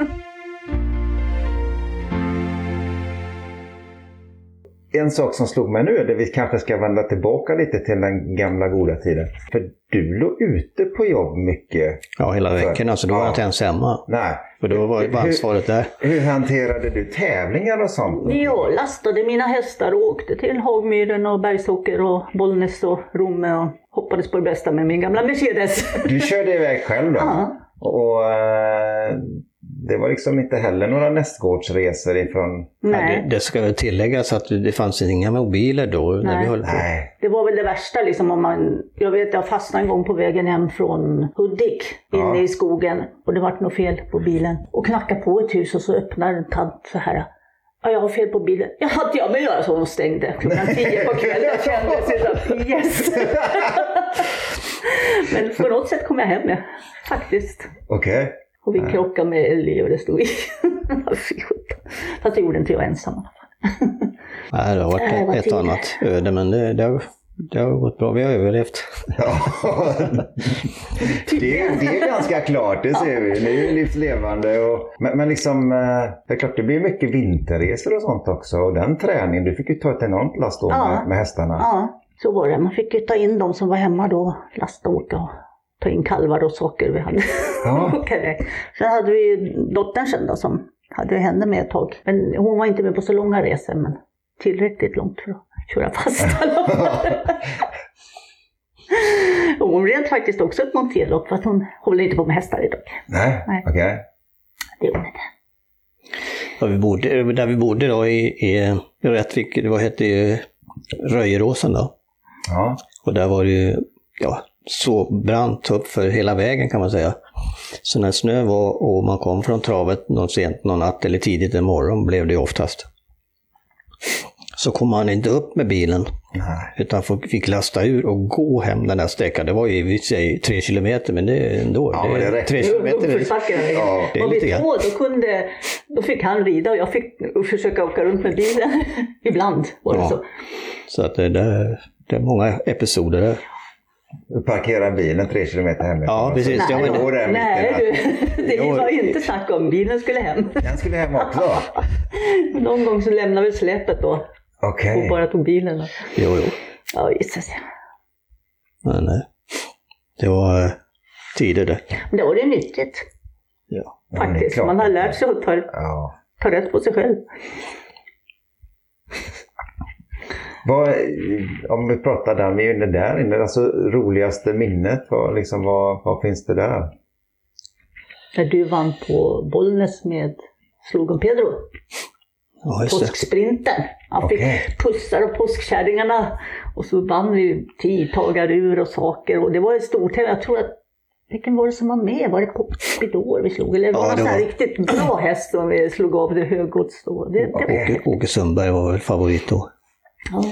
A: En sak som slog mig nu är att vi kanske ska vända tillbaka lite till den gamla goda tiden. För du låg ute på jobb mycket.
B: Ja, hela veckan alltså. Då var
A: Ja.
B: jag inte ens hemma.
A: Nej.
B: För då var var ansvaret där.
A: Hur hanterade du tävlingar och sånt?
C: Jag lastade mina hästar och åkte till Hagmyren och Bergsåker och Bollnäs och Romme och hoppades på det bästa med min gamla Mercedes.
A: Du körde iväg själv då?
C: Ja.
A: Och eh, det var liksom inte heller några nästgårdsresor ifrån...
B: Ja,
C: Nej,
B: det, det ska väl tilläggas att det fanns inga mobiler då. När
C: Nej.
B: vi höll på.
A: Nej.
C: det var väl det värsta liksom om man... Jag vet, jag fastnade en gång på vägen hem från Hudik inne
A: Ja.
C: i skogen och det vart något fel på bilen. Och knackade på ett hus och så öppnar en tant så här. Ja, jag har fel på bilen. Jag hade inte jag med att göra så hon stängde klockan tio på kvällen. Jag kände sig så här, yes! Men på något sätt kom jag hem ja. faktiskt.
A: Okej.
C: Och vi krockade med älg och det stod i. Fy sjutton. Fast det gjorde inte jag ensam. i alla fall.
B: Nej, det har varit
C: Nej, vad
B: ett
C: tid.
B: och annat öde, men det, det, har, det har gått bra. Vi har överlevt.
A: Ja, det, det är ganska klart, det ser vi. Ni är ju livslevande. Och, men, men liksom, eh, det är klart det blir mycket vinterresor och sånt också. Och den träningen, du fick ju ta ett enormt last då
C: Ja.
A: med, med hästarna.
C: Ja, så var det. Man fick ju ta in de som var hemma då, lasta och åka och ta in kalvar och saker vi hade.
A: Ja.
C: Åka iväg. Sen hade vi ju dottern sen då som hade henne med ett tag. Men hon var inte med på så långa resor, men tillräckligt långt för att köra fast i alla fall. Och Hon red faktiskt också ett monterlopp för att hon håller inte på med hästar idag.
A: Nej,
C: Nej.
A: okej.
C: Det gjorde hon inte.
B: eh, Där vi bodde, där vi bodde då i, i Rättvik, det var, hette ju Röjeråsen då.
A: Ja.
B: Och där var det ju ja, så brant upp för hela vägen kan man säga. Så när snö var och man kom från travet någon sent någon natt eller tidigt en morgon blev det ju oftast. Så kom man inte upp med bilen
A: Nej.
B: utan fick lasta ur och gå hem den där sträckan. Det var ju i och för sig tre kilometer men det är ändå.
A: Ja, det räcker.
B: tre
A: Jo,
B: kilometer. är-
A: Ja,
B: det är
C: Var
B: lite
C: vi
B: grann.
C: två, då, kunde, då fick han rida och jag fick försöka åka runt med bilen. Ibland var det
B: Ja.
C: så.
B: Så att det, det, det är många episoder där.
A: Parkera bilen tre kilometer hemifrån.
B: Ja, precis.
A: Och så-
B: Ja, men-
A: Jo, där
C: nej
A: mitt i
C: du,
A: natten.
C: det
B: Jo.
C: var inte snack om. Bilen skulle hem.
A: Den skulle hem också?
C: Någon gång så lämnade vi släpet då
A: Okej.
C: och bara tog bilen. Och,
B: Jo, jo.
C: ja, gissas jag.
B: Men, eh, det var eh, tider det.
C: Men det var det nyttigt
B: Ja.
A: Ja, det är
C: faktiskt.
A: klart.
C: Man har lärt sig att ta,
A: Ja.
C: ta rätt på sig själv.
A: Vad, om vi pratar där, vi är inne där inne, alltså roligaste minnet, vad, liksom, vad, vad finns det där?
C: När du vann på Bollnäs med Slogan Pedro,
B: ja, just det.
C: påsksprinten. Han fick
A: Okej.
C: pussar och påskkärringarna. Och så vann vi tidtagarur och saker. Och det var en stor tävling. Jag tror att vilken var det som var med? Var det Pompidor vi slog? Eller var
B: Ja,
C: det
B: det
C: någon sån här
B: var-
C: riktigt bra häst som vi slog av det höggods då? Det, det var...
B: Åke, Åke Sundberg var väl favorit då.
C: ja.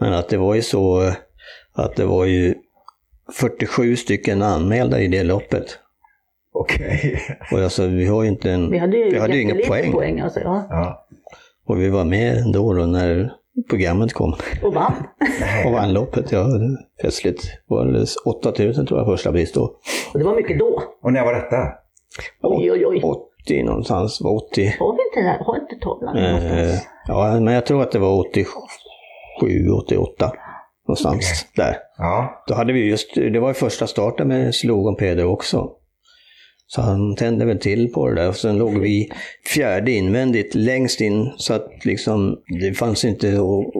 B: Men att det var ju så eh, att det var ju 47 stycken anmälda i det loppet.
A: Okej.
B: Och alltså, vi har ju inte en...
C: Vi hade ju
B: vi hade ju inga
C: jättelite
B: poäng.
C: poäng alltså, ja.
A: Ja.
B: Och vi var med ändå då när programmet kom
C: Och vann.
B: och vann loppet. Ja, det var festligt. Det var väl 8000 tror jag första pris då.
C: Och det var mycket då.
A: Och när var detta?
C: Oj, oj, oj.
B: 80 någonstans, var 80.
C: Har vi inte det här? Har inte tavlan
B: Eh,
C: någonstans?
B: ja, men jag tror att det var 87, 88 någonstans där.
A: Ja.
B: Då hade vi just, det var ju första starten med Slogan Peder också. Så han tände väl till på det där och sen låg vi fjärde invändigt längst in så att liksom det fanns inte o-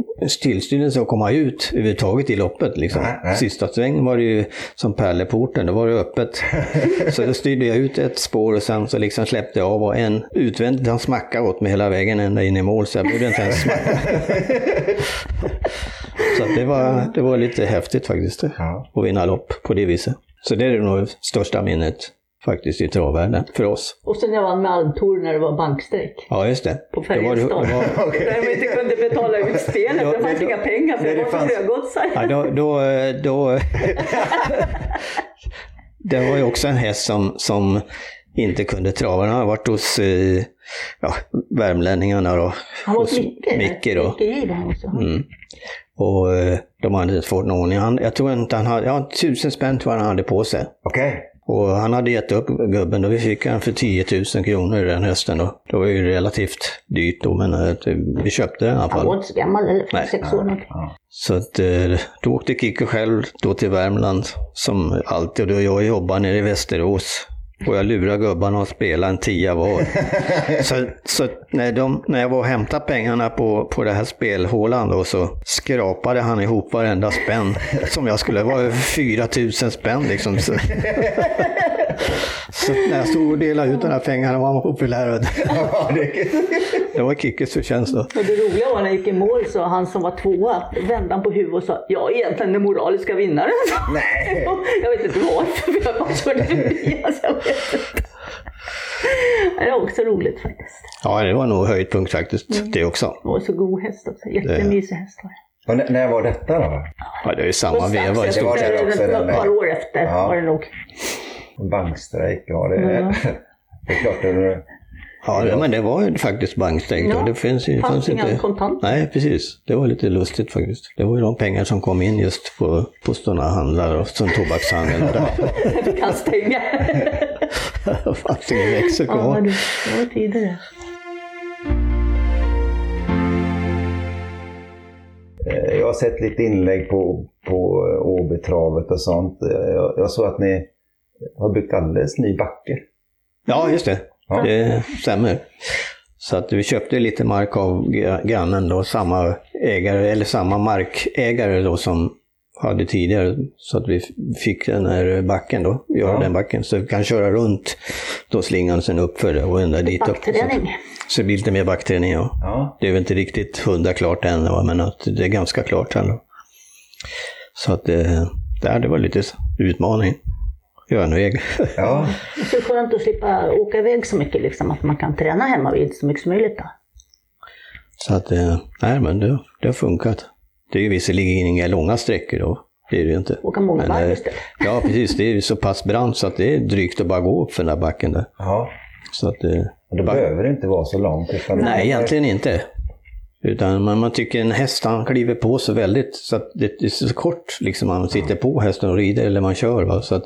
B: tillstymmelse att komma ut överhuvudtaget i loppet. Liksom.
A: Nej, nej.
B: Sista svängen var det ju som pärleporten, då var det öppet. så då styrde jag ut ett spår och sen så liksom släppte jag av och en utvändigt, han smackade åt mig hela vägen ända in i mål så jag borde inte ens smacka. så att det, var, det var lite häftigt faktiskt. det
A: ja.
B: och vinna lopp på det viset. Så det är nog det största minnet faktiskt i travvärlden för oss.
C: Och sen jag vann med Almtor när det var bankstrejk
B: Ja, just det.
C: på
B: Det var, det
C: Färjestad.
B: var,
C: Där de inte kunde betala ut spelet,
B: Ja,
C: det fanns
B: men då-
C: inga pengar för
A: Nej,
C: det
A: det
C: var
A: fanns-
C: så högoddsare.
B: ja, då, då, eh, då Det var ju också en häst som, som inte kunde trava. Han har varit hos eh, ja, värmlänningarna då.
C: Han var
B: hos
C: Micke.
B: Micke då.
C: Micke var han också.
B: Mm. Och eh, de hade inte fått någon ordning. Han, jag tror inte han hade, ja, tusen spänn tror jag han hade på sig.
A: Okej.
B: Och han hade gett upp gubben och vi fick han för 10 000 kronor den hösten. Då. Det var ju relativt dyrt då, men eh, vi köpte den i alla
C: Han var
B: fall.
C: inte så gammal, eller
B: Nej.
C: 56 år något.
A: Ja.
B: Så att, eh, då åkte Kikki själv då till Värmland som alltid. Och jag jobbade nere i Västerås. Och jag lurade gubbarna att spela en tia var. Så, så att när, de, när jag var och hämtade pengarna på, på det här spelhålan då så skrapade han ihop varenda spänn som jag skulle, det var 4 000 spänn liksom. Så, så när jag stod och delade ut de här pengarna var han populär.
A: Ja, det-
B: Det var Kickes förtjänst då.
C: Och det roliga var när jag gick i mål så han som var tvåa vände han på huvudet och sa jag är egentligen den moraliska vinnaren.
A: Nej.
C: jag vet inte varför, för jag bara körde förbi alltså, jag vet inte. Det var också roligt faktiskt.
B: Ja, det var nog höjdpunkt faktiskt
A: Mm.
B: det också.
C: Det var så god häst också. Jättemysig häst var det.
A: Och när, när var detta då?
B: Ja, det är ju samma veva
A: Det
B: i
A: var
B: stort
A: det
B: sett.
C: det
A: också, den
C: Ett par
A: med.
C: år efter
A: Ja.
C: var det nog.
A: Bankstrejk, ja det,
C: Ja.
A: det är klart. Det,
B: Ja, det- men det var ju faktiskt bankstängt.
C: Ja,
B: Ja, det finns, ju-
C: fanns
B: fanns
C: inga
B: inte...
C: kontanter.
B: Nej, precis. Det var lite lustigt faktiskt. Det var ju de pengar som kom in just på, på sådana handlar och som tobakshandel. och där.
C: Jag fick han stänga.
B: Det fanns ingen växel
C: Ja,
B: kvar.
C: du, det var tidigare.
A: Eh, Jag har sett lite inlägg på, på eh, Åbytravet och sånt. Eh, Jag, jag såg att ni har byggt alldeles ny backe.
B: Ja, just det.
A: Ja.
B: Det stämmer. Så att vi köpte lite mark av gra- grannen då, samma ägare, eller samma markägare då som hade tidigare. Så att vi f- fick den här backen då, göra
A: Ja.
B: den backen. Så vi kan köra runt då slingan sen uppför och ända dit upp. Så,
C: Backträning.
B: så det blir lite mer backträning ja.
A: Ja.
B: Det är väl inte riktigt hundra klart än, va, men att det är ganska klart ändå. Så att det, det, här, det var lite utmaning. Örnväg.
A: ja.
C: Så skönt att slippa åka iväg så mycket, liksom, att man kan träna hemma vid så mycket som möjligt. Då.
B: Så att, eh, nej men det, det har funkat. Det är ju visserligen inga långa sträckor då. Det är det ju inte.
C: Åka många
B: Men,
C: varv
B: eh,
C: istället.
B: Ja, precis. Det är ju så pass brant så att det är drygt att bara gå upp för den där backen där.
A: ja.
B: Så att, eh,
A: Och det
B: back-
A: behöver inte vara så långt. Utan
B: Nej, egentligen inte. Utan man, man tycker en häst, han kliver på så väldigt, så att det, det är så kort liksom man sitter på hästen och rider eller man kör. Va? Så att,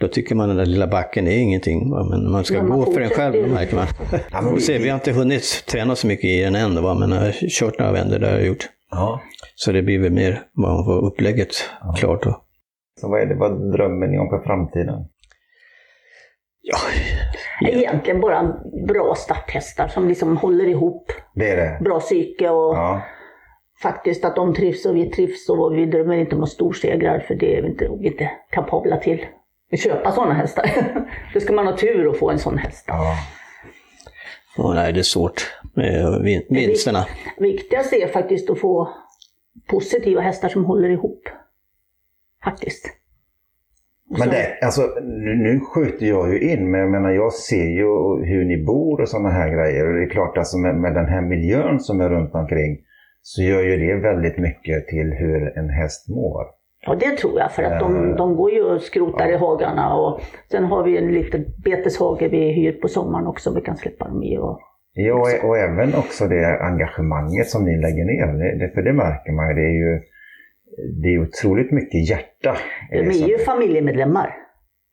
B: då tycker man den där lilla backen är ingenting. Va? Men när man ska
C: Men man
B: gå för den själv, då
C: fortsätter
B: märker
C: ju.
B: man.
A: Ja, men
B: Och
A: vi-
B: se, vi har inte hunnit träna så mycket i den än, va? men jag har kört några vändor, det har jag gjort.
A: Ja.
B: Så det blir väl mer vad man får upplägget klart. Då.
A: Så vad, är det, vad drömmer ni om för framtiden?
B: Ja,
C: Egentligen bara bra starthästar som liksom håller ihop,
A: Det är det?
C: bra psyke och
A: Ja.
C: faktiskt att de trivs och vi trivs och vi drömmer inte om några storsegrar för det är vi inte, vi är inte kapabla till. Att köpa sådana hästar. Då ska man ha tur att få en sån häst.
A: ja.
B: och nej, det är svårt med vin- vinsterna.
C: Viktigast är faktiskt att få positiva hästar som håller ihop. Faktiskt. Och
A: Men
C: sen-
A: det, alltså, nu, nu skjuter jag ju in, men jag menar jag ser ju hur ni bor och sådana här grejer. Och det är klart, alltså, med, med den här miljön som är runt omkring så gör ju det väldigt mycket till hur en häst mår.
C: Ja, det tror jag. För att de,
A: Eh.
C: de går ju och skrotar i hagarna. Och sen har vi en liten beteshage vi hyr på sommaren också vi kan släppa dem i. Och,
A: Ja, och, och även också det engagemanget som ni lägger ner. Det, det, för det märker man ju. Det är ju det är otroligt mycket hjärta.
C: de
A: det
C: är
A: som-
C: ju familjemedlemmar.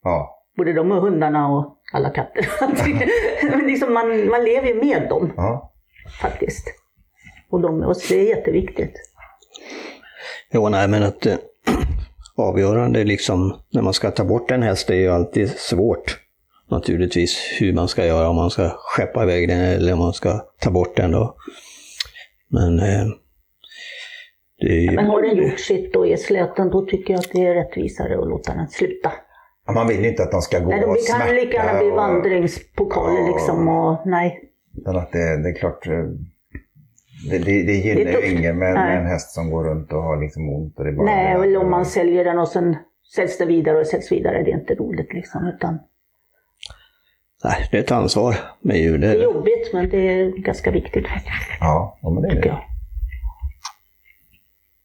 A: Ja,
C: Både de och hundarna och alla katter. Men liksom man, man lever ju med dem
A: ja.
C: faktiskt. Och, de, och det är jätteviktigt.
B: Jo, nej, men att eh, avgörande liksom när man ska ta bort en häst är ju alltid svårt. Naturligtvis hur man ska göra, om man ska skeppa iväg den eller om man ska ta bort den då. Men eh, det är ju...
C: Men har den gjort sitt och är släten, då tycker jag att det är rättvisare att låta den sluta.
A: Ja, Man vill ju inte att de ska gå
C: Nej,
A: och
C: de
A: smärta.
C: kan lika gärna bli
A: och-
C: vandringspokaler
A: Ja.
C: liksom. Och, nej,
A: utan att det, det är klart, eh, det, det, det gillar ju
C: tufft.
A: ingen med, med
C: Nej.
A: en häst som går runt och har liksom ont. Och det är bara
C: nej
A: det där.
C: eller om man säljer den och sen säljs den vidare och säljs vidare. Det är inte roligt liksom. Utan
B: Nej, det är ett ansvar med djur. Det är
C: det är
B: det.
C: jobbigt, men det är ganska viktigt tycker
A: Ja, ja, men det är det.
C: jag.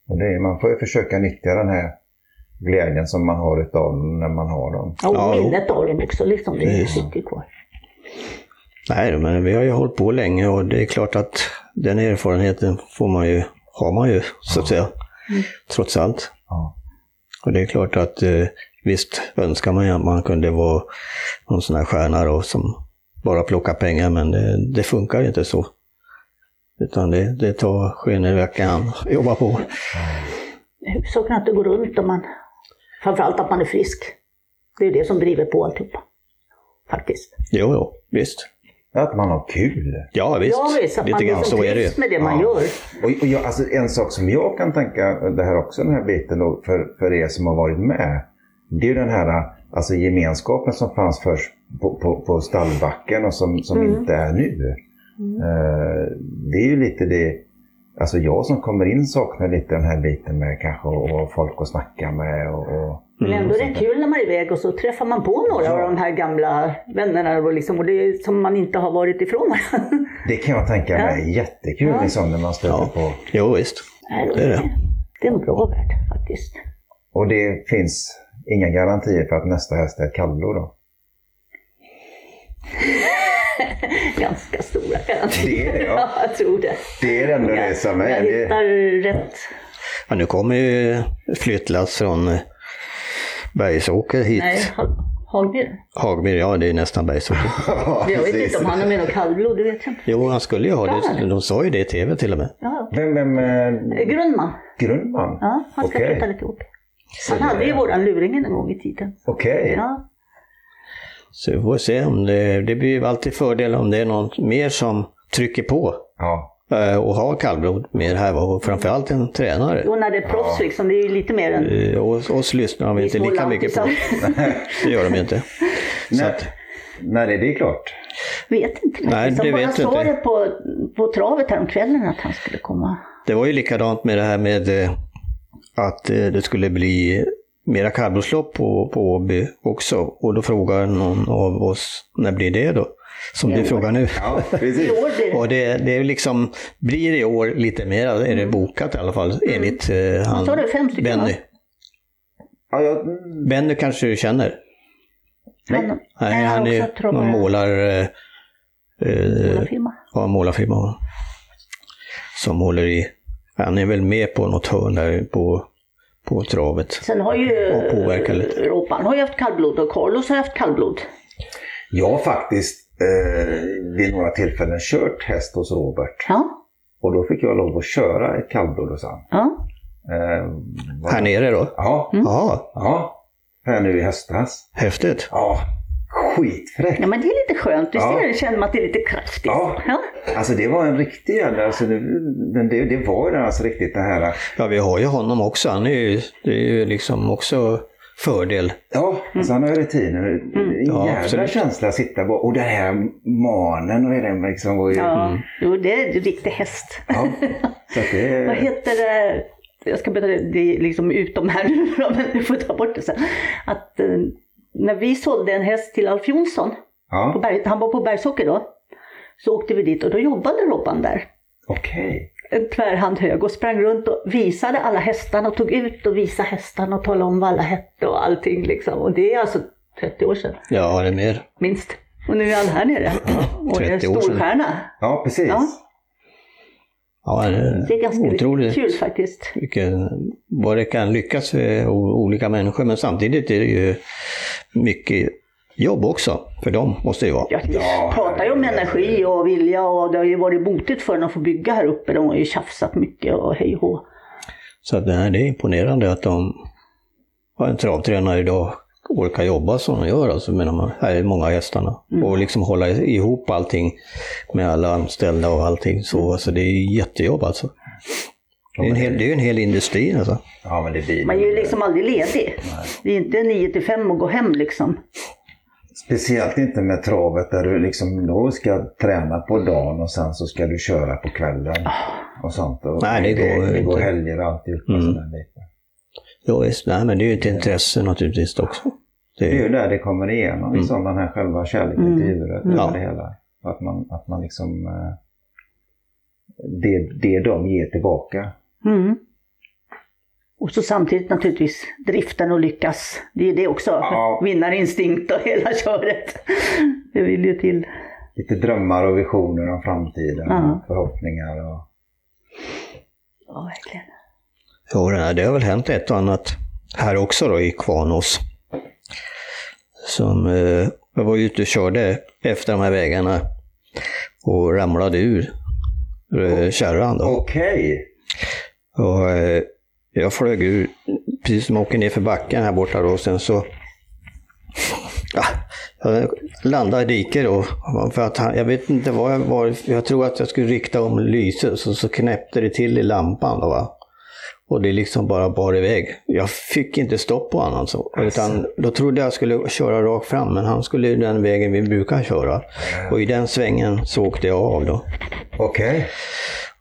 A: Och det. är- Man får ju försöka nyttja den här glädjen som man har utav dem när man har dem.
C: Ja,
B: Ja,
C: och
B: jo.
C: minnet av dem också, liksom,
B: Ja.
C: det sitter ju kvar.
B: Nej, men vi har ju hållit på länge och det är klart att den erfarenheten får man ju, har man ju så att säga. Trots allt.
A: Ja.
B: Och det är klart att eh, visst önskar man ju att man kunde vara någon sån här stjärna då som bara plockar pengar, men det, det funkar ju inte så. Utan det, det tar skenen i veckan att jobba på.
C: Huvudsaken är att det går runt och man, framförallt att man är frisk. Det är ju det som driver på alltihopa. Faktiskt.
B: Jo, jo, visst.
A: Att man har kul.
B: Ja, visst.
C: Ja, visst, att
B: Lite
C: man
B: grann
C: liksom
B: så är det ju.
C: trivs med det man
A: Ja.
C: gör.
A: Och, och jag, alltså, en sak som jag kan tänka, det här också, den här biten då, för, för er som har varit med. Det är ju den här alltså, gemenskapen som fanns först på, på, på stallbacken och som, som
C: Mm.
A: inte är nu. Eh, det är ju lite det, alltså jag som kommer in saknar lite den här biten med kanske och, och folk att snacka med. Och, och,
C: Men
B: Mm.
C: ändå är det kul när man är iväg och så träffar man på några av de här gamla vännerna och, liksom, och det är som man inte har varit ifrån varandra.
A: det kan jag tänka mig är jättekul
C: Ja.
A: liksom, när man stöter
B: Ja.
A: på.
B: Jo, visst. Det är det.
C: det är en bra värld faktiskt.
A: Och det finns inga garantier för att nästa häst är ett kallblod då?
C: Ganska stora garantier.
A: Det är det, ja.
C: ja. jag tror det.
A: Det är ändå det som är.
C: Jag
A: det-
C: hittar rätt.
B: Ja, nu kommer ju flyttlass från eh, Bergsåker hit.
C: Nej, Hagmyr.
B: Hagmyr, ja det är nästan Bergsåker.
A: Ja,
C: Jag vet
A: precis.
C: inte om han har med något kallblod, det vet jag inte.
B: Jo, han skulle ju ha det.
C: Ja.
B: De sa ju det i tv till och med.
C: Ja.
A: Vem, vem eh,
C: Grundman.
A: Grundman?
C: Ja, han ska
A: Okej.
C: flytta lite ihop. Han hade ju våran luringen en gång i tiden.
A: Okej.
C: Ja,
B: Så vi får se om det, det blir ju alltid fördel om det är någon mer som trycker på
A: Ja.
B: eh, och ha kallblod med det här var och framförallt en tränare.
C: Och när det är proffs
A: Ja.
C: liksom, det är ju lite mer än
B: Eh, Och oss lyssnar de inte
C: små
B: lika mycket på.
C: lantisar.
B: Det gör de ju inte. Så
A: Nej.
B: att,
A: När är det klart?
C: vet inte
B: Nej,
C: faktiskt.
B: det
C: De bara
B: vet du
C: sa
B: inte.
C: det på, på travet häromkvällen att han skulle komma.
B: det var ju likadant med det här med eh, att eh, det skulle bli mera kallblodslopp på, på Åby också. Och då frågar någon av oss, när blir det då? Som du frågar nu.
A: Ja,
C: I
A: precis.
C: år blir det.
B: Och det, det är liksom, blir i år lite mera, är det bokat i alla fall enligt eh, han,
C: Mm. sa det offentligt,
B: Benny.
A: Ja, jag,
B: Benny kanske du känner?
C: Han,
B: Nej, han är
C: också
B: ju
C: tror jag.
B: någon målar, eh, eh,
C: målarfirma.
B: ja, målarfirma. va? Som håller i, han är väl med på något hörn där på, på travet.
C: Sen har ju
B: Och påverkar lite.
C: Robban har ju haft kallblod och Carlos har haft kallblod.
A: jag har faktiskt eh, vid några tillfällen kört häst hos Robert.
C: Ja,
A: Och då fick jag lov att köra ett kallblod hos han.
C: ja.
A: Eh, vad-
B: Här nere då?
C: Mm.
A: Ja,
B: Ja,
A: ja. Här nu i höstas.
B: häftigt.
A: Ja, skitfräckt.
C: ja, men det är lite skönt. Visst
A: Ja.
C: är det, känner man att det är lite kraftigt?
A: Ja.
C: Ja.
A: Alltså det var en riktig jävla, alltså, det, den- det, det var ju den alltså riktigt det här.
B: Ja, vi har ju honom också. Han är ju, det är ju liksom också fördel.
A: Ja,
C: Mm.
A: alltså han har ju rutiner. En
B: Ja,
A: jävla
B: absolut.
A: känsla att sitta på. Och den här manen och den liksom var ju...
C: ja. Jo, det är en riktig häst.
A: Ja. Så att det...
C: Vad heter det? Jag ska berätta det- det är liksom utom här nu, då, men du får ta bort det sen. Att eh, när vi sålde en häst till Alf Jonsson, på
A: Ja,
C: berg, han var på Bergsåker då, så åkte vi dit och då jobbade Robban där.
A: okej.
C: en tvärhand hög och sprang runt och visade alla hästarna och tog ut och visade hästarna och talade om vad alla hette och allting liksom. Och det är alltså 30 år sedan,
B: Ja, det är mer.
C: minst. Och nu är han här nere och är
B: 30 år sedan.
C: storstjärna.
A: Ja, precis.
C: Ja.
B: Ja, det är,
C: Det är ganska
B: otroligt.
C: kul faktiskt.
B: vilken, vad det kan lyckas för o- olika människor. Men samtidigt är det ju mycket jobb också, för dem måste det ju vara.
C: Ja, vi
A: Ja,
C: pratar ju om
A: herregud.
C: energi och vilja och det har ju varit botigt för dem att få bygga här uppe. De har ju tjafsat mycket och hej och hå.
B: Så att, nej, det är imponerande att de har en travtränare idag orkar jobba som de gör, alltså med de här många hästarna.
A: Mm.
B: Och liksom hålla ihop allting med alla anställda och allting.
A: Mm.
B: Så alltså, det är jättejobb alltså. Det är ju en hel, det är ju en hel industri alltså.
A: Ja, men det blir
C: Man är ju liksom aldrig ledig. Det är inte 9 till 5 och gå hem liksom.
A: Speciellt inte med travet där du liksom då ska träna
C: Mm.
A: på dagen och sen så ska du köra på kvällen.
C: Ah.
A: Och sånt. Och
B: Nej, det går
A: det, det går
B: inte.
A: helger och alltihopa.
B: Mm.
A: sådär lite.
B: Ja, visst, nej, men det är ju ett intresse naturligtvis också.
A: Det är ju där det kommer igenom, liksom, den här själva kärleken till
C: Mm.
A: djuret.
B: Mm. Ja.
A: över Det hela. Att man, att man liksom... eh, Det, det de ger tillbaka.
C: Mm. Och så samtidigt naturligtvis driften och lyckas. Det är det också.
A: Ja.
C: Vinnarinstinkt och hela köret. Det vill ju till.
A: Lite drömmar och visioner om framtiden.
C: Ja.
A: Förhoppningar och...
C: Ja, verkligen.
B: Jo, det- det har väl hänt ett och annat här också då i Kvarnås. Som, eh, jag var ju ute och körde efter de här vägarna och ramlade ur eh, kärran. Då.
A: Okej!
B: Och, eh, jag flög ur, precis som jag åker ner för backen här borta då, och sen så ja, jag landade i diket då. För att han, jag vet inte vad jag var, jag tror att jag skulle rikta om lyset, så, så knäppte det till i lampan. Då, va? Och det liksom bara bar iväg. Jag fick inte stopp på honom. Alltså. Utan då trodde jag skulle köra rakt fram, men han skulle ju den vägen vi brukar köra. Och i den svängen så åkte jag av då.
A: Okej.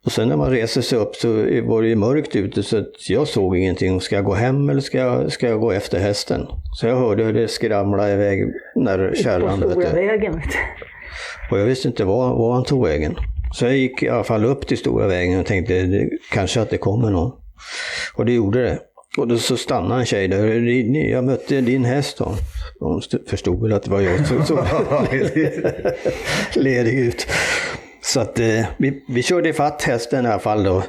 B: Och sen när man reser sig upp så var det ju mörkt ute så att jag såg ingenting. Ska jag gå hem eller ska jag, ska jag gå efter hästen? Så jag hörde hur det skramlade iväg när
C: På
B: kärran...
C: stora
B: vet du.
C: vägen. Vet du.
B: Och jag visste inte var, var han tog vägen. Så jag gick i alla fall upp till stora vägen och tänkte det, kanske att det kommer någon. Och det gjorde det. Och då så stannade en tjej där. "Ni- Jag mötte din häst. Då. Hon st- förstod väl att det var jag. Så, så ledig ut. Så att eh, vi, vi körde ifatt hästen i alla fall då.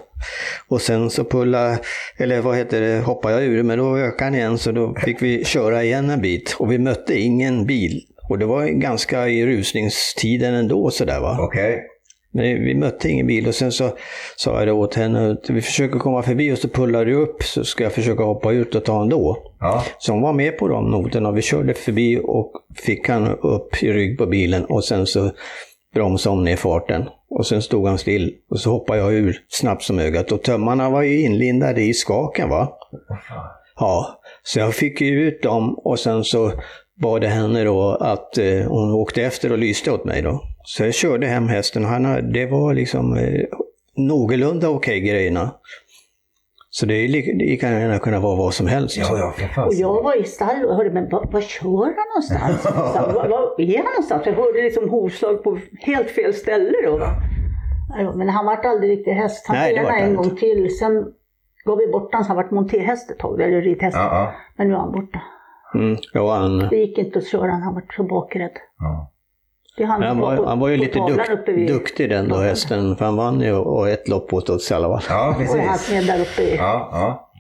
B: Och sen så pulla, eller vad heter det, hoppade jag ur, men då ökade han igen så då fick vi köra igen en bit. Och vi mötte ingen bil. Och det var ganska i rusningstiden ändå sådär va.
A: Okej.
B: Men vi mötte ingen bil och sen så sa jag då åt henne att vi försöker komma förbi och så pullar du upp så ska jag försöka hoppa ut och ta ändå.
A: Ja.
B: Så hon var med på de noterna. Vi körde förbi och fick han upp i rygg på bilen och sen så bromsade om ner farten. Och sen stod han still och så hoppade jag ur snabbt som ögat. Och tömmarna var ju inlindade i skaken va. Ja, så jag fick ju ut dem och sen så bad jag henne då att eh, hon åkte efter och lyste åt mig då. Så jag körde hem hästen och han, har- det var liksom eh, någorlunda okej grejerna. Så det är li- det kan gärna kunna vara vad som helst.
D: Ja, ja, för fan.
C: Och jag var i stall och hörde, men vad, vad kör han någonstans? Så, vad, vad är han någonstans? Jag hörde liksom hovslag på helt fel ställe då. va. Ja, Men han vart aldrig riktigt häst. Han
B: Nej, det vart
C: tränade
B: han
C: en gång
B: inte.
C: till. Sen gav vi bort honom så han vart montéhäst ett tag, eller ridhäst.
D: Ja, ja,
C: Men nu är han borta.
B: Mm, ja, han,
C: Det gick inte att köra honom, han vart så bakrädd.
D: ja.
C: Det är han,
B: han,
C: som
B: var,
C: på-
B: han var ju
C: på
B: lite
C: tavlan
B: dukt,
C: uppe vid-
B: duktig den då hästen, för han vann ju och ett lopp åt Oddsalva.
D: ja
C: Och han
D: precis.
C: smed där uppe. i-
D: Ja, ja.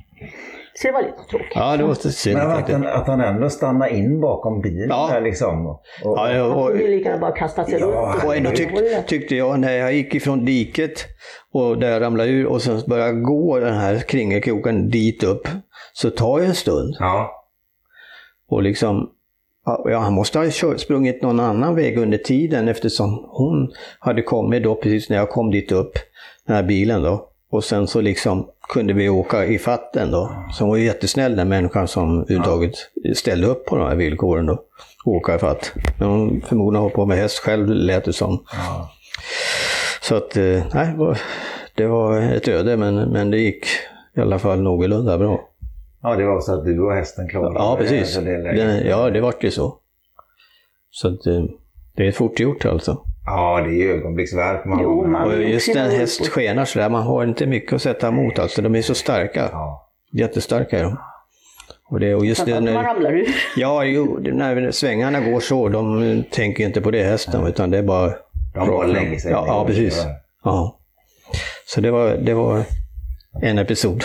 C: Så det var lite tråkigt.
B: Ja, det var synd
D: Men att
B: faktiskt.
D: han, att han ändå stannar in bakom bilen
B: Ja.
D: där liksom. Och, och,
B: Ja,
C: Han
B: jag, och,
C: kunde ju lika gärna bara kasta sig
D: Ja,
C: runt.
B: Och ändå
C: åt
B: tyck,
C: hållet.
B: tyckte jag när jag gick ifrån diket och där jag ramlade ur och sen började jag gå den här kringelkroken dit upp. Så tar jag en stund
D: ja.
B: och liksom, ja, han måste ha kö- sprungit någon annan väg under tiden eftersom hon hade kommit då precis när jag kom dit upp, den här bilen då. Och sen så liksom kunde vi åka i fatten då. Så hon var ju jättesnäll den människan som överhuvudtaget ställde upp på de här villkoren då. Åka i fatt. Men hon förmodligen hoppade med häst själv lät det som.
D: ja.
B: Så att, eh, nej, det var- det var ett öde, men, men det gick i alla fall någorlunda bra.
D: Ja, det var så att du och hästen klarade
B: Ja,
D: det,
B: precis.
D: så Eh, alltså, det är läget.
B: Det, ja, det vart ju så. Så att, eh, det är fort gjort alltså.
D: Ja, det är ju ögonblicksverk. Man
C: Jo, man-
B: Och just när en häst
C: Absolut.
B: skenar sådär, man har inte mycket att sätta emot alltså. De är så starka.
D: Ja.
B: Jättestarka är de. Och, det, och just
C: Framförallt
B: det
C: när man
B: när,
C: ramlar ur.
B: ja, jo, det- när svängarna går så, de eh, tänker inte på det hästen, utan det är bara...
D: De bara lägger sig.
B: Ja, ja precis. Ja. Så det var, det var en episod.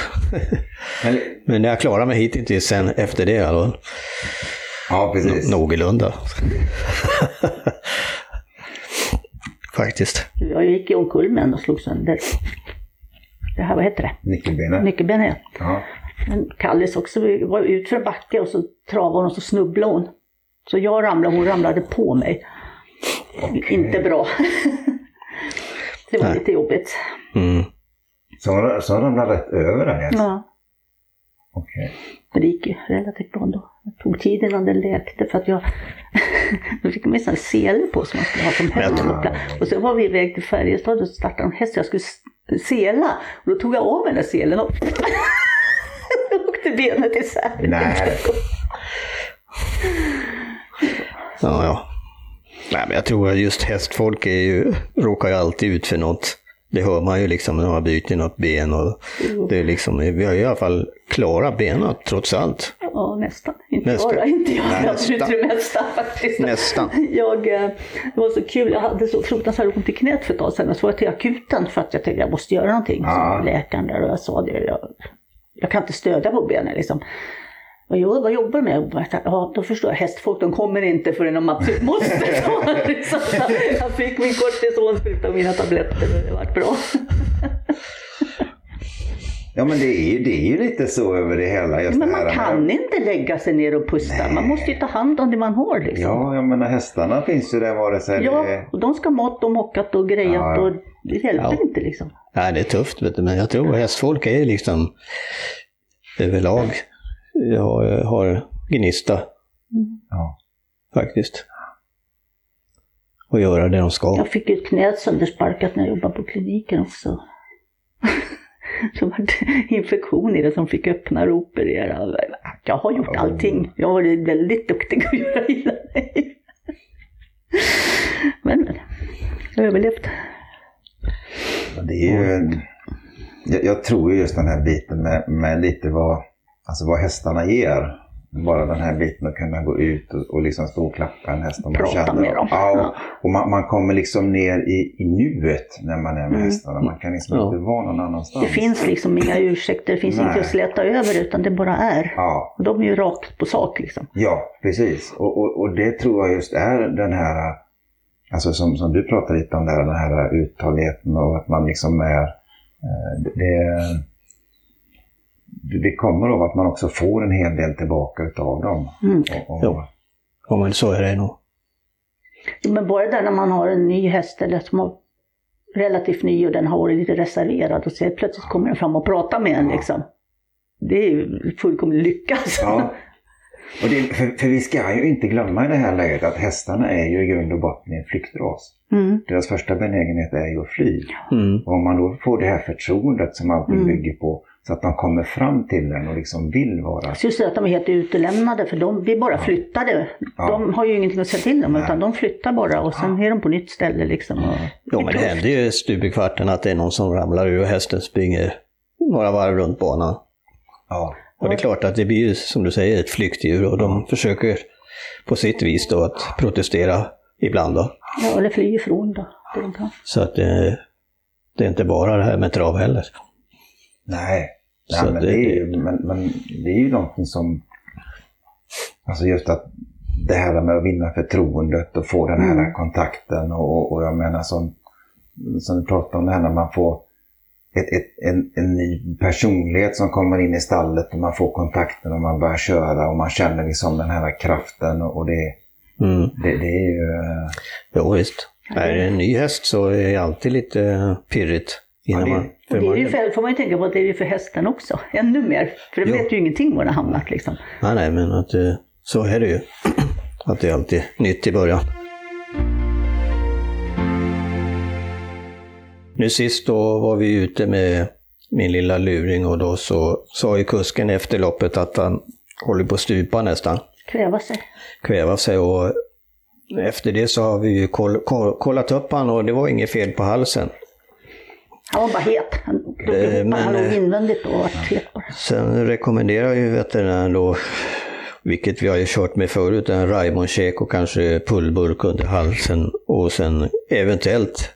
D: Men,
B: Men jag klarar mig hittills sen efter det i alla fall.
D: ja, precis.
B: Någorlunda. Faktiskt.
C: Jag gick ju omkull med den och slog sönder. Det här, vad heter det?
D: Nyckelbenet.
C: Nyckelbenet.
D: Ja.
C: Men Kallis också var ut för en backe och så travade hon och så snubblade hon. Så jag ramlade och hon ramlade på mig. Inte bra. det var
B: Nej.
C: lite jobbigt.
B: Mm.
D: Så hon- så hon ramlade rätt över den hästen?
C: Ja.
D: Okej.
C: Men det gick ju relativt bra ändå. Det tog tid innan den läkte för att jag... Då fick man ju sån här sele på som man skulle ha som händerkopplar. Och sen var vi iväg till Färjestad och så startade en häst så jag skulle s- sela. Och då tog jag av mig den där selen och då åkte benet isär.
D: Nej.
B: Ja, ja. Nej, men jag tror att just hästfolk är ju, råkar ju alltid ut för något. Det hör man ju liksom när man byter något ben. Och det är liksom, vi har ju i alla fall klara benen trots allt.
C: Ja, nästan. Inte
B: Nästan.
C: bara, inte jag.
B: Nej,
C: jag tror inte
B: nästan.
C: det mesta faktiskt.
B: Nästan.
C: Jag, eh, det var så kul, jag hade så fruktansvärt ont i knät för ett tag sedan. Så var jag till akuten för att jag tänkte jag måste göra någonting.
D: Ja.
C: Så läkaren där och jag sa det, jag, jag kan inte stödja på benen liksom. Och jag, vad jobbar du med? Och jag sa, Ja, då förstår jag. Hästfolk, de kommer inte förrän de absolut måste. sa han, liksom. jag fick min kortisonspruta och mina tabletter och det vart bra.
A: Ja, men det är, ju- det är ju lite så över det hela. Just
C: Men
A: det här
C: man kan inte lägga sig ner och pusta. Man måste ju ta hand om det man har liksom.
A: Ja, jag menar hästarna finns ju där vare sig det
C: Ja,
A: är...
C: och de ska ha mat och mockat och
A: Eh,
C: grejat
A: Ja, ja.
C: och det hjälper
B: Ja.
C: inte liksom.
B: Nej, det är tufft, vet du, men jag tror att hästfolk är liksom överlag har, har gnista
D: Ja.
B: faktiskt. Och göra det de ska.
C: Jag fick ju ett knät söndersparkat när jag jobbade på kliniken också. Så var det infektion i det som fick öppna och operera. Jag har gjort allting. Jag har varit väldigt duktig att göra illa mig. Men, men. Jag överlevde.
A: Det är ju en, jag, jag tror ju just den här biten med, med lite vad, alltså vad hästarna ger. Bara den här biten att kunna gå ut och, och liksom stå och klappa en häst. Om man
C: Prata
A: känner-
C: med dem.
A: Ja,
C: Ja.
A: och, och man, man kommer liksom ner i, i nuet när man är med hästarna. Man kan liksom
B: Ja.
A: inte vara någon
C: Mm. Det
A: annanstans.
C: finns liksom inga ursäkter, det finns
A: Nej.
C: inget att släta över utan det bara är.
A: Ja,
C: Och de är ju rakt på sak liksom.
A: Ja, precis. Och, och, och det tror jag just är den här, alltså som, som du pratade lite om, där, den här uthålligheten och att man liksom är... eh, Det, det- det kommer av att man också får en hel del tillbaka utav dem.
C: Mm.
A: Och, och,
B: Jo. Ja, men så är det nog.
C: Jo, Men bara där när man har en ny häst eller som har relativt ny och den har varit lite reserverad och så plötsligt kommer den fram och pratar med en liksom. Det är ju fullkomlig lycka alltså.
A: Ja. Och det, för, för vi ska ju inte glömma i det här läget att hästarna är ju i grund och botten en flyktras.
C: Mm.
A: Deras första benägenhet är ju att fly.
B: Mm.
A: Och om man då får det här förtroendet som allting
C: Mm.
A: bygger på, så att de kommer fram till den och liksom vill vara...
C: Så Just det att de är helt utelämnade för de blir bara flyttade.
A: Ja.
C: De har ju ingenting att säga till om
A: Nej.
C: utan de flyttar bara och sen är de på nytt ställe liksom.
B: Jo, men det händer ju stup i kvarten att det är någon som ramlar ur och hästen springer några varv runt banan.
A: Ja.
B: Och det är klart att det blir ju, som du säger, ett flyktdjur och
C: Mm.
B: de försöker på sitt vis då att protestera ibland då.
C: Ja, eller fly ifrån då. det de kan.
B: Så att eh, det är inte bara det här med trav heller.
A: Nej,
B: Så
A: Nej men,
B: det-
A: det, är ju, men, men det är ju någonting som... Alltså just att det här med att vinna förtroendet och få den här
C: Mm.
A: kontakten och, och, och jag menar som, som du pratade om det här när man får ett, ett, en, en ny personlighet som kommer in i stallet och man får kontakten och man börjar köra och man känner liksom den här kraften och, och det,
B: Mm.
A: det, det är ju... eh,
B: Jo, visst. Är det en ny häst så är det alltid lite eh, pirrigt. Innan
A: Ja, det-
B: man,
C: Och det är ju
B: man,
C: för, får man ju tänka på att det är ju för hästen också. Ännu mer. För den
B: Jo.
C: vet ju ingenting var den har hamnat liksom.
B: nej, nej, men att, eh, så är det ju. Att det är alltid nytt i början. Nu sist då var vi ute med min lilla luring och då så sa ju kusken efter loppet att han håller på att stupa nästan.
C: Kväva sig.
B: kväva sig. Och efter det så har vi ju koll, koll, kollat upp han och det var inget fel på halsen.
C: Han var bara het. Han,
B: Eh, men,
C: han låg
B: eh,
C: invändigt och var het bara.
B: Sen rekommenderar ju veterinären då, vilket vi har ju kört med förut, en Raimondkäk och kanske pullburk under halsen och sen eventuellt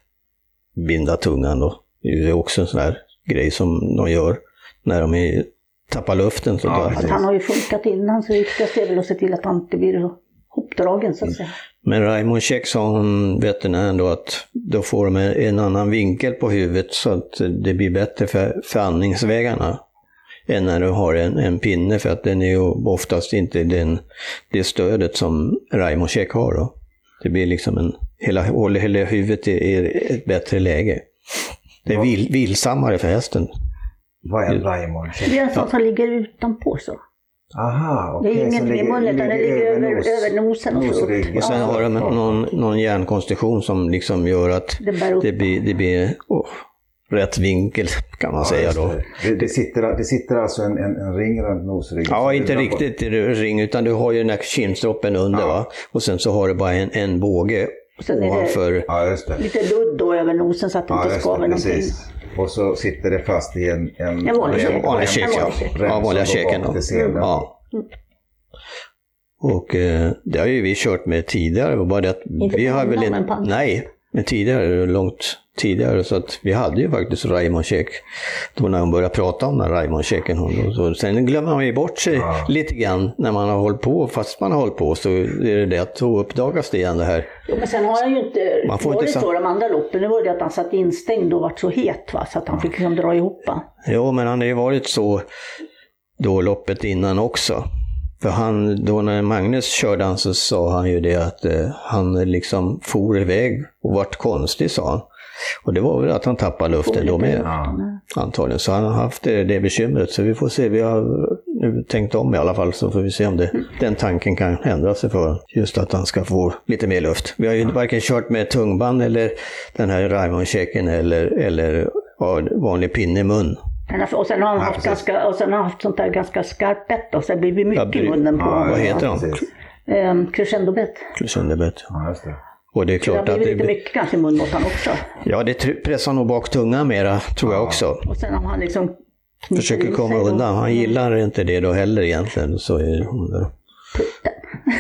B: binda tungan då. Det är ju också en sån här grej som de gör när de är, tappar luften. Så
A: Ja,
B: tar-
C: Att han har ju funkat innan så det viktigaste är väl att se till att han inte blir hopdragen så att säga.
B: Men Raymond Käck sa hon, veterinären då, att då får de en- en annan vinkel på huvudet så att det blir bättre för, för andningsvägarna än när du har en, en pinne för att den är ju oftast inte den, det stödet som Raymond Käck har. Då. Det blir liksom en, hela, håller hela huvudet i, i ett bättre läge. Det är vil, vilsammare för hästen.
A: Vad är Raimond?
C: Det är en sån som ligger utanpå så.
A: Aha,
C: Det
A: okej.
C: är ingenting i munnen utan den ligger över,
A: nos-
C: över nosen och så upp.
A: nosryggen.
B: Och sen
C: Ja,
B: har de någon, någon hjärnkonstruktion som liksom gör att
C: den bär upp.
B: Det blir, det blir åh, rätt vinkel kan man säga
A: just
B: då.
A: Det, det, det, sitter, det sitter alltså en, en, en ring runt nosryggen.
B: Ja,
A: som
B: inte
A: lutar på.
B: riktigt i ring, utan du har ju den här kindstroppen under va. Och sen så har du bara en, en båge
C: Sen är det-
B: ovanför.
A: Ja, just det.
C: Lite ludd då över nosen så att det
A: Ja,
C: inte
A: just det
C: skaver någonting.
A: precis. Och så sitter det fast i en... En,
C: En vanlig käk.
B: En vanlig käk, ja.
C: vanlig käk.
B: Ja, vanliga käken. då. Ja.
C: Mm.
B: Och eh, det har ju vi kört med tidigare. och Bara det att
C: Inte
B: vi har
C: pannan,
B: väl
C: men
B: inte...
C: pannan.
B: Nej, men tidigare, långt tidigare. Så att vi hade ju faktiskt Raymond Käk. Då när hon började prata om den Raymond Käken. Hon, och så, sen glömmer man ju bort sig
A: Ja.
B: lite grann när man har hållit på. Fast man har hållit på så är det det att då uppdagas det igen det här.
C: Jo, men sen har han ju inte
B: Man får inte
C: varit
B: sam-
C: så de andra loppen. Nu var det att han satt instängd och vart så het va, så att han fick liksom dra ihop va?
B: Jo, men han har ju varit så då loppet innan också. För han, då när Magnus körde han så sa han ju det att eh, han liksom for iväg och vart konstig sa han. Och det var väl att han tappade luften då med
A: Ja.
B: antagligen. Så han har haft det, det bekymret. Så vi får se, vi har nu tänkt om i alla fall så får vi se om det, den tanken kan ändra sig för honom. Just att han ska få lite mer luft. Vi har ju varken kört med tungband eller den här Raymond-checken eller, eller ja, vanlig pinne i mun.
C: Men alltså- Och sen har han
A: Ja,
C: haft,
A: precis.
C: ganska, och sen har han haft sånt där ganska skarpt bett då, så det blir mycket i
B: bry-
C: munnen på
A: Ja,
B: Vad
C: honom.
B: heter de?
A: precis.
C: Ehm, Crescendobett.
B: Sundebett.
A: Ja, just det.
B: Och det är
C: Det har
B: klart att
C: blivit
B: det,
C: lite
B: blir-
C: mycket kanske i munnen åt honom också.
B: ja, det tr- pressar nog bak tungan mera, tror jag också.
C: Och sen om han liksom knyter
B: Försöker
C: in
B: komma
C: sig och-
B: undan. Han gillar inte det då heller egentligen. Så, är hon där.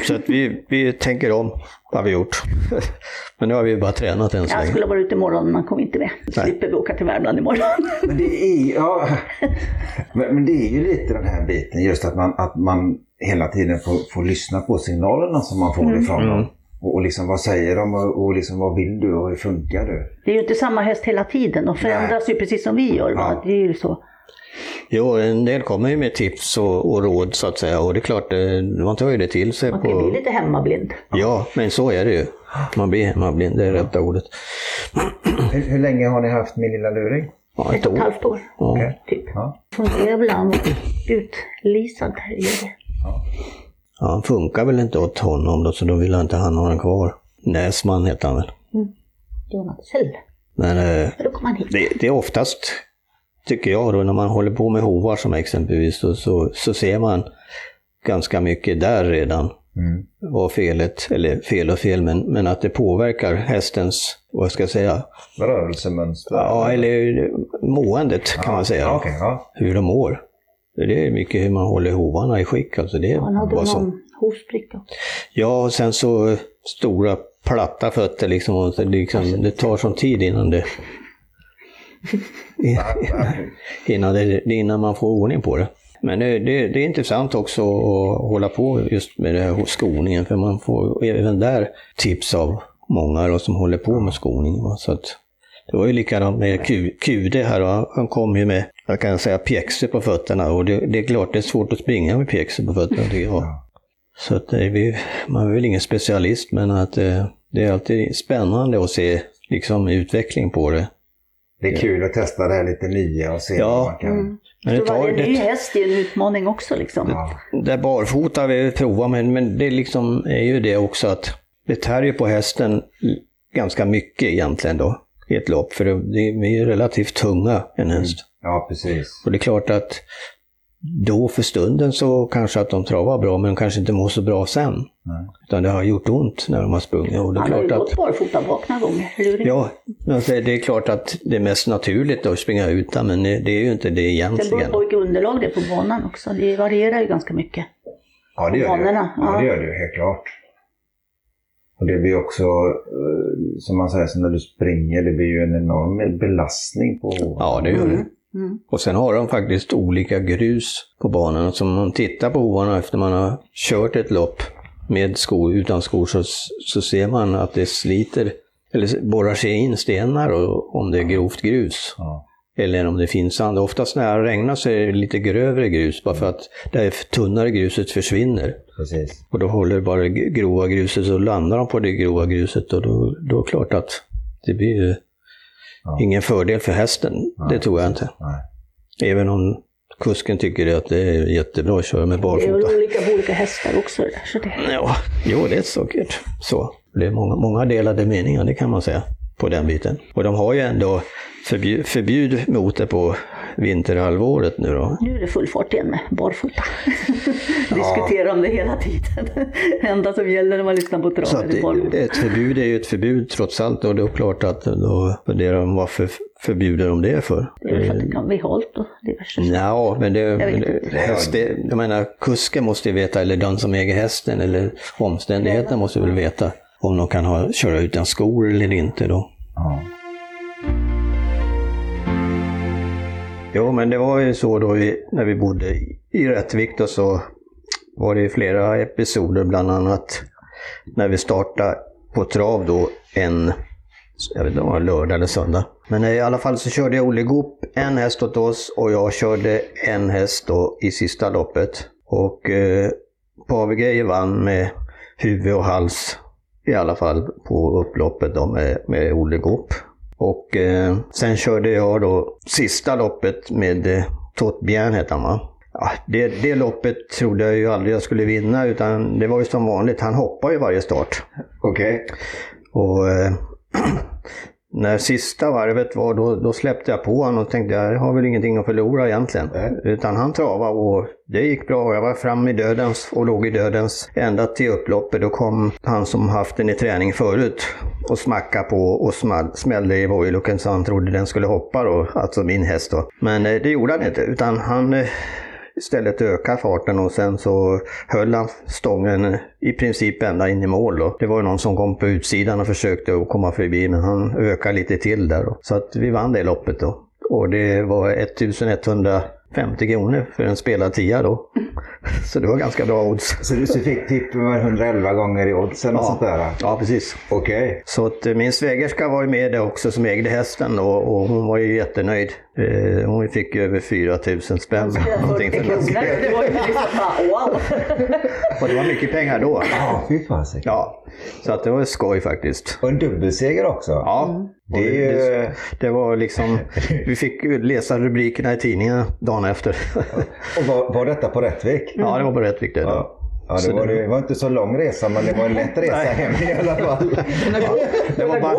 B: så att vi, vi tänker om, har vi gjort. Men nu har vi bara tränat än så
C: Jag
B: länge.
C: skulle vara ute imorgon men han kom inte med. Då slipper vi åka till Värmland imorgon.
A: Men det, är, ja, men, men det är ju lite den här biten, just att man, att man hela tiden får, får lyssna på signalerna som man får
C: Mm.
A: ifrån dem.
B: Mm.
A: Och, och liksom vad säger de och, och liksom vad vill du och hur funkar du?
C: Det är ju inte samma häst hela tiden. De förändras ju precis som vi gör. Va?
A: Ja.
C: Det är ju så.
B: Jo, en del kommer ju med tips och, och råd så att säga och det är klart, eh, man tar ju det till sig.
C: Man kan ju
B: på...
C: bli lite hemmablind.
B: Ja, men så är det ju. Man blir hemmablind, det är rätta ordet.
A: Hur, hur länge har ni haft min lilla luring?
B: Ja,
C: Ett och ett halvt år,
B: Ja.
A: Okej.
C: typ.
A: Ja.
C: Fungerar ibland utlisad här i det.
B: Ja, han funkar väl inte åt honom då, så då vill inte han ha den kvar. Näsman heter han väl.
C: Donatell.
B: Men eh,
C: Då kom han hit.
B: det, det är oftast, tycker jag, då, när man håller på med hovar som exempelvis, så, så, så ser man ganska mycket där redan
A: Mm.
B: vad felet, eller fel och fel, men, men att det påverkar hästens, vad ska jag säga,
A: Rörelsemönster?
B: ja, eller måendet kan man säga.
A: Ja, okej, ja.
B: Hur de mår. Det är mycket hur man håller hovarna i skick. Alltså det är
C: Han hade
B: vad som-
C: någon hovspricka också.
B: Ja, och sen så eh, stora platta fötter liksom. Och så liksom det tar sån tid innan det... innan, det, innan man får ordning på det. Men det, det, det är intressant också att hålla på just med det här skoningen, för man får även där tips av många då, som håller på med skoning. va. Så att, det var ju likadant med Q, QD här, va. han kom ju med, jag kan säga, pjäxor på fötterna och det, det är klart det är svårt att springa med pjäxor på fötterna tycker jag. Så att det är, ju- man är väl ingen specialist, men att eh, det är alltid spännande att se liksom, utveckling på det.
A: Det är kul att testa det här lite nya och se
B: Ja.
A: vad man kan...
B: Men det
C: Så
B: tar,
C: varje ny
B: det,
C: häst är en utmaning också liksom.
A: Ja.
B: det är barfota vi provar, men, men det liksom är ju det också att det tär ju på hästen l- ganska mycket egentligen då i ett lopp, för det, det, vi är ju relativt tunga en häst.
C: Mm.
A: ja, precis.
B: Och det är klart att då för stunden så kanske att de travar bra, men de kanske inte mår så bra sen. Utan det har gjort ont när de har sprungit. Och det är
C: Han har ju
B: klart att,
C: gått barfota bak några gånger. Luring.
B: Ja, alltså det är klart att det är mest naturligt att springa utan, men det det är ju inte det
C: Sen beror det
B: egentligen.
C: på vilket underlag det är på banan också. Det varierar ju ganska mycket.
A: Ja, det gör det. ju.
C: Banorna,
A: Ja,
C: ja.
A: det gör det ju, helt klart. Och det blir också, eh, som man säger, så när du springer, det blir ju en enorm belastning på hovarna.
B: Ja, det gör det.
C: Mm.
B: Och sen har de faktiskt olika grus på banan. Så om man tittar på hovarna efter man har kört ett lopp med skor, utan skor, så, så ser man att det sliter, eller borrar sig in stenar och, om det är grovt grus.
A: Ja.
B: Eller om det finns sand. Oftast när det regnar så är det lite grövre grus, bara för att det här tunnare gruset försvinner.
A: Precis.
B: Och då håller bara det grova gruset, så landar de på det grova gruset och då, då är det klart att det blir ju
A: Ja.
B: ingen fördel för hästen. Det tror jag inte.
A: Nej.
B: Även om kusken tycker att det är jättebra att köra med
C: Det är
B: barfota.
C: väl olika på olika hästar också. det där, Så det...
B: Ja, jo, det är säkert så. Det är många, många delade meningar, det kan man säga, på den biten. Och de har ju ändå förbjud, förbjud mot det på vinterhalvåret nu då.
C: Nu är det full fart igen med barfota. Diskuterar om det hela tiden. Det enda som gäller när man lyssnar på
B: Så
C: trav
B: att
C: är barfota.
B: det- ett förbud är ju ett förbud trots allt och det är klart att då funderar de varför förbjuder de det för?
C: Det är väl för att det kan bli halt och diverse.
B: Mm. Ja, men det,
C: vet
B: det, häst, det, jag menar, kusken måste ju veta, eller den som äger hästen, eller omständigheterna måste väl veta om de kan ha, köra utan skor eller inte då.
A: Ja.
B: Jo, men det var ju så då i, när vi bodde i- i Rättvik då så var det ju flera episoder, bland annat när vi startade på trav då en, jag vet inte om det var lördag eller söndag. Men eh, i alla fall så körde Olle Goop en häst åt oss och jag körde en häst då i sista loppet. Och eh, Pavegreje vann med huvud och hals i alla fall på upploppet då med, med Olle Goop. Och eh, sen körde jag då sista loppet med eh, Tot Bien hette han va? Ja, det, det loppet trodde jag ju aldrig jag skulle vinna utan det var ju som vanligt, han hoppar ju varje start.
A: Okej.
B: Och eh, när sista varvet var då, då släppte jag på honom och tänkte jag har väl ingenting att förlora egentligen.
A: Nej.
B: Utan han travade och det gick bra. Jag var fram i dödens och låg i dödens ända till upploppet. Då kom han som haft den i träning förut och smackade på och small, smällde i vojlocken så han trodde den skulle hoppa då, alltså min häst då. Men eh, det gjorde han inte utan han eh, istället öka farten och sen så höll han stången i princip ända in i mål. Då. Det var ju någon som kom på utsidan och försökte att komma förbi men han ökade lite till där. Då. Så att vi vann det loppet då. Och det var 1150 kronor för en spelad tia då. Så det var ganska bra odds.
A: Så du så fick tipp över 111 gånger i oddsen och sånt där?
B: Ja, precis.
A: Okej.
B: Så att eh, min svägerska var ju med där också som ägde hästen då, och hon var ju jättenöjd. Eh, hon fick över 4 000 spänn. någonting för det.
C: Det var ju liksom bara wow.
B: Och det var mycket pengar då.
A: Ja, fy fasiken.
B: Ja, så att det var skoj faktiskt.
A: Och en dubbelseger också.
B: Ja,
A: Mm. Det är ju-
B: det, det var liksom, vi fick läsa rubrikerna i tidningarna dagen efter.
A: Och var, var detta på Rättvik?
B: Ja, det var på Rättvik det. då.
A: Ja. Ja, det
B: Så
A: var,
B: det-
A: det var inte så lång resa, men det var en lätt resa hem i alla fall.
B: Det var, bara,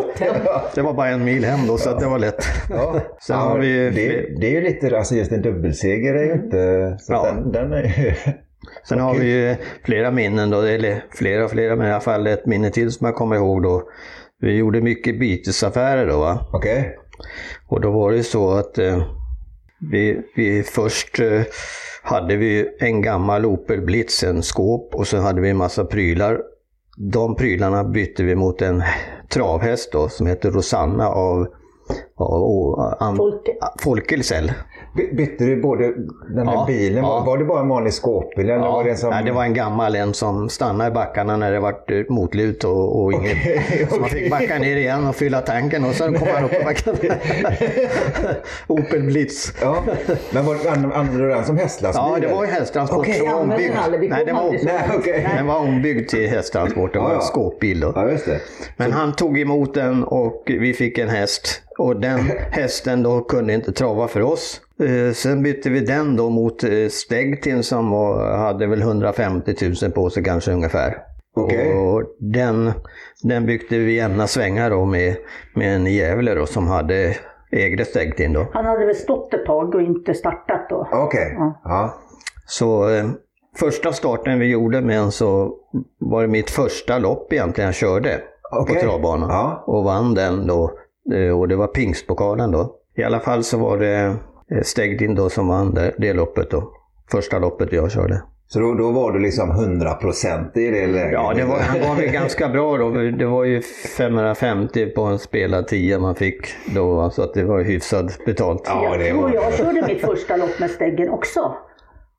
B: det var bara en mil hem då, så att det var lätt.
A: Ja. ja,
B: Sen har vi- Mm.
A: det, det är ju lite, alltså just en dubbelseger är ju inte... Så
B: Ja.
A: den, den är ju...
B: Sen har vi ju flera minnen då, eller flera och flera, men i alla fall ett minne till som jag kommer ihåg då. Vi gjorde mycket bytesaffärer då va.
A: Okej.
B: Och då var det så att eh, vi, vi först eh, hade vi en gammal Opel Blitz, en skåp och så hade vi en massa prylar. De prylarna bytte vi mot en travhäst då, som heter Rosanna av, av, av
C: Folke.
B: Folkelsell.
A: By- Bytte du både den här
B: Ja,
A: bilen,
B: ja.
A: var, var det bara en vanlig skåpbil eller
B: Ja,
A: var det en som...
B: nej, det var en gammal en som stannade i backarna när det var eh, motlut och, och inget. Så man fick backa ner igen och fylla tanken och sen kom man upp och backade. Opel Blitz.
A: Ja. Men var, an- använde du den som hästlastbil?
B: Ja, det var
A: eller?
B: ju hästtransport
A: Okej,
B: som var
C: ja, men
B: ombyggd.
C: den hade vi
B: Nej, den var,
C: kommit
A: Nej,
B: ombyggd.
A: okej.
B: den var ombyggd till hästtransport. Det var
A: Ja,
B: en
A: ja.
B: skåpbil. Då.
A: Ja, just det.
B: Men han tog emot den och vi fick en häst. Och den hästen då kunde inte trava för oss. Eh, Sen bytte vi den då mot eh, Stegtin som var, hade väl 150 000 på sig kanske ungefär.
A: Okej.
B: Och den, den byggde vi jämna svängar då med, med en i Gävle då som hade ägde Stegtin då.
C: Han hade väl stått ett tag och inte startat då.
A: Okej.
C: Ja.
A: Ja.
B: Så eh, första starten vi gjorde med en så var det mitt första lopp egentligen jag körde
A: Okej.
B: på travbanan.
A: Ja.
B: Och vann den då. Eh, Och det var pingstpokalen då. I alla fall så var det eh, Stegdin då som vann det, det loppet då. Första loppet jag körde.
A: Så då, då var du liksom 100% i det läget?
B: Ja, det var, han var väl ganska bra då. Det var ju 550 på en spelad 10 man fick då. va, Så att det var ju hyfsat betalt.
A: Ja, det
C: jag tror
A: var...
C: jag körde mitt första lopp med Steggen också.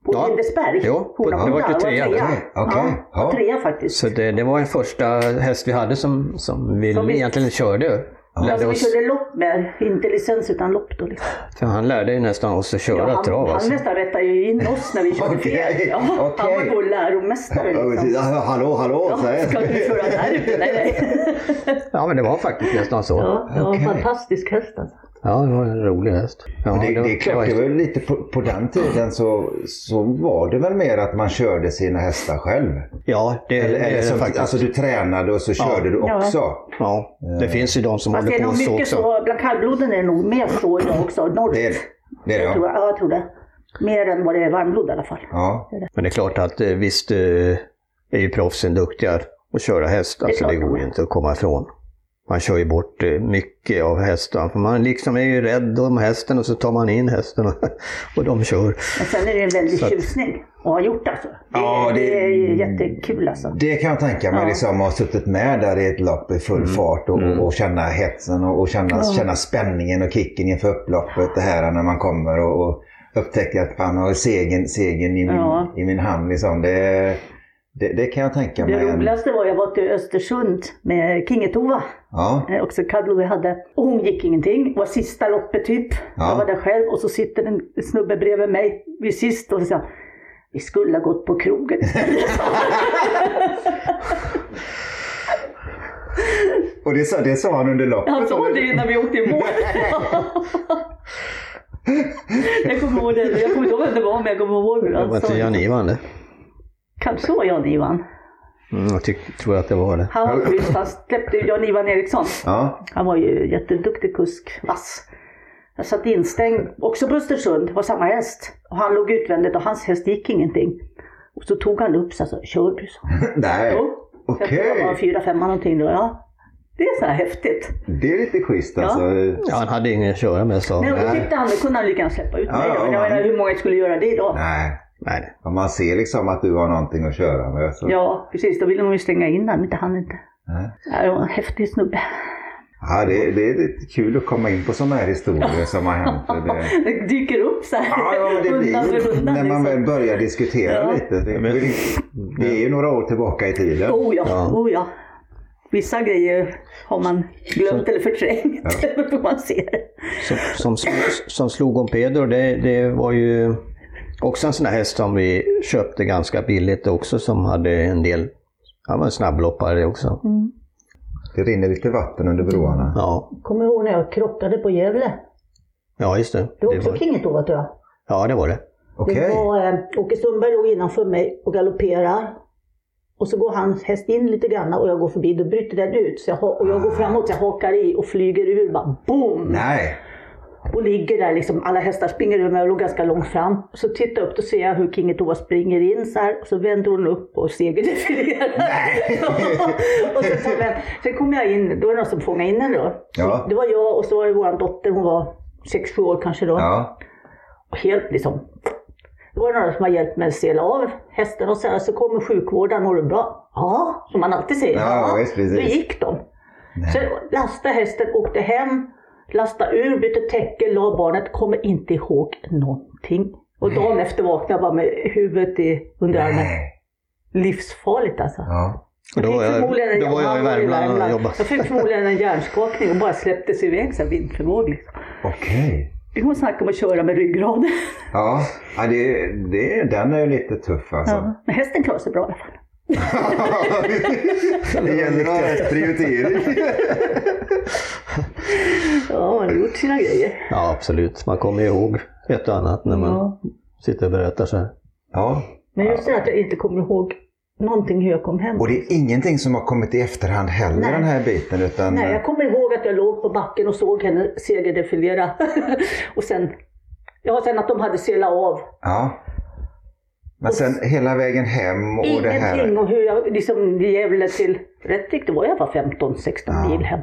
C: På
B: Ja.
C: Lindesberg.
B: Jo, på-
C: Hornborna.
B: det var ju
C: Jag
B: trea.
A: Okej, okej.
C: Ja,
A: Ja.
C: trea faktiskt.
B: Så det, det var den första häst vi hade som, som vi
C: Som vi-
B: egentligen körde. Lärde
C: Alltså, vi
B: oss
C: körde lopp med, inte licens utan lopp då. Liksom.
B: För han lärde ju nästan oss att köra
C: han,
B: trav
C: han
B: alltså.
C: nästan rättade ju in oss när vi körde
A: Okej,
C: fel. Ja, Han
A: okej.
C: var vår läromästare.
A: Ja,
C: Liksom.
A: precis. Ja, Hallå, hallå! så här.
C: Ja, ska du köra där ute? Nej, nej.
B: Ja men det var faktiskt nästan så. Ja,
C: Ja, det var en
A: Okej.
C: fantastisk häst alltså.
B: det var en rolig häst. Ja,
A: Men det, det är klart, det
B: var-
A: var ju lite på, på den tiden så, så var det väl mer att man körde sina hästar själv.
B: Ja, det,
A: Eller,
B: det
A: eller
B: är
A: som,
B: faktiskt.
A: alltså eh, du tränade och så körde du
C: Ja.
A: också.
B: ja, det finns ju de som
C: Fast det
B: håller
C: är
B: på
C: nog
B: så
C: mycket
B: också.
C: så, bland kallbloden är det nog mer så idag också, norrut.
A: Det är det. Är det
C: Jag tror,
A: ja.
C: jag- ja, jag tror det. Mer än vad det är varmblod i alla fall.
A: Ja.
B: Men det är klart att eh, visst eh, är ju proffsen duktiga att köra häst. Alltså
C: klart
B: det
C: de
B: går
C: är.
B: ju inte att komma ifrån. Man kör ju bort eh, mycket av hästen. För man liksom är ju rädd om hästen och så tar man in hästen och, och de kör.
C: Men sen är det en väldig
B: Så att-
C: tjusning att ha gjort alltså. Det,
A: Ja,
C: det...
A: det-
C: är ju jättekul alltså.
A: Det kan jag tänka mig,
C: Ja.
A: liksom, att ha suttit med där i ett lopp i
B: Mm.
A: full fart och, och känna hetsen och, och känna, känna spänningen och kicken inför upploppet. Det här när man kommer och, och upptäcker att man har segern segern i, min,
C: Ja.
A: i min hand. Liksom. Det, det, det kan jag tänka mig.
C: Det roligaste var jag var till Östersund med Kingetova,
A: Ja,
C: eh, också Kadlo vi hade. Och hon gick ingenting, var sista loppet typ.
A: Ja.
C: Jag var där själv och så sitter en snubbe bredvid mig vid sist och så sa vi skulle ha gått på krogen
A: och det, sa- det sa han under loppet.
C: Han sa det när vi åkte i mål. jag kommer ihåg det. Jag kommer inte ihåg vem det var, men jag kommer ihåg hur
B: Det var
C: han sa
B: inte Jan
C: det.
B: Ivan det?
C: Kanske var Jan-Ivan.
B: Mm, jag tyck, tror att det var det.
C: Han var schysst. Han släppte ju Jan-Ivan Eriksson.
A: Ja,
C: Han var ju jätteduktig kusk. Vass. Jag satt instängd, också på Östersund, var samma häst. Och han låg utvändigt och hans häst gick ingenting. Och så tog han upp sig och sa, kör du? sa han.
A: nej.
C: Jo. Jag tror
A: Okej,
C: jag var fyra, femma någonting då. Ja. Det är så här häftigt.
A: det är lite schysst
C: Ja.
A: alltså.
B: Ja, han hade ingen att köra med sa han.
C: Men då tyckte han, då kunde han lika gärna släppa ut
A: Ja,
C: mig.
A: ja,
C: Men jag
A: ja.
C: menar, hur många skulle göra det idag?
A: Nej,
B: Nej.
A: om man ser liksom att du har någonting att köra med. Så.
C: Ja, precis. Då ville de ju slänga in honom, inte han inte.
A: Nej.
C: Ja, Det var en häftig snubbe.
A: Ja, det, det är lite kul att komma in på sådana här historier som har hänt. och Det...
C: Det dyker upp så här
A: Ja, ja, men det
C: undan
A: blir
C: för
A: ju
C: undan.
A: när man väl
C: liksom.
A: börjar diskutera
C: Ja.
A: lite. Det, det är ju några år tillbaka i tiden.
C: Oh ja,
B: Ja.
C: oh ja.
E: Vissa grejer har man glömt eller förträngt, eller hur man ser
B: Som, som, sl- som slog om Pedro, det, det var ju också en sån här häst som vi köpte ganska billigt också som hade en del, han var en snabbloppare också.
E: Mm.
A: Det rinner lite vatten under broarna.
B: Ja,
C: Kommer ihåg när jag krockade på Gävle?
B: ja just det.
C: Det var
B: Det
C: också
B: var-
C: Kingetoa tror jag.
B: Ja, det var det.
A: Okej.
C: Det var, eh, Åke Sundberg låg innanför mig och galopperar. Och så går hans häst in lite grann och jag går förbi, då bryter den ut. Så jag, ha- och jag går framåt, jag hakar i och flyger ur bara boom!
A: Nej.
C: Och ligger där liksom, alla hästar springer ur men jag låg ganska långt fram. Så tittar jag upp, då ser jag hur King Toa springer in så här och så vänder hon upp och segerdefilerar. och så tar jag, sen kom jag in, då var det någon som fångade in henne då.
A: Ja.
C: Det var jag och så var det vår dotter, hon var 6-7 år kanske då
A: Ja.
C: och helt liksom. Det var några som har hjälpt mig att sela av hästen och så, här, så kommer sjukvårdaren, mår du bra? Ja, som man alltid säger.
A: Ja, visst, precis.
C: Då gick de. Så lastade hästen, åkte hem, lastade ur, bytte täcke, la barnet, kommer inte ihåg någonting. Och dagen efter vaknade jag bara med huvudet i underarmen.
A: Nej.
C: Livsfarligt alltså.
A: Ja.
B: Och då
C: fick
B: var jag,
C: förmodligen en-
B: då var jag i
C: mamma
B: Värmland och jobbade.
C: Jag fick förmodligen en hjärnskakning och bara släpptes iväg så här vindförvåg. Liksom.
A: Okej.
C: Vi kommer snacka om att köra med ryggraden.
A: Ja. ja det, det, den är ju lite tuff alltså.
C: Ja. Men hästen klarade sig bra i alla fall.
A: det gäller att ha rätt prioritering.
C: Ja, han har gjort sina grejer.
B: Ja, absolut. Man kommer ihåg ett och annat när man
C: Ja.
B: sitter och berättar så här.
A: ja.
C: Men just det att jag inte kommer ihåg någonting hur jag kom hem.
A: Och det är ingenting som har kommit i efterhand heller
C: Nej.
A: den här biten. Utan,
C: Nej, jag kommer ihåg att jag låg på backen och såg henne segerdefilera. och sen, ja, sen att de hade selat av.
A: ja. Men sen hela vägen hem och det
C: Ingenting
A: här.
C: om hur jag, liksom Gävle till Rättvik, det var jag var 15-16
A: Ja.
C: mil hem.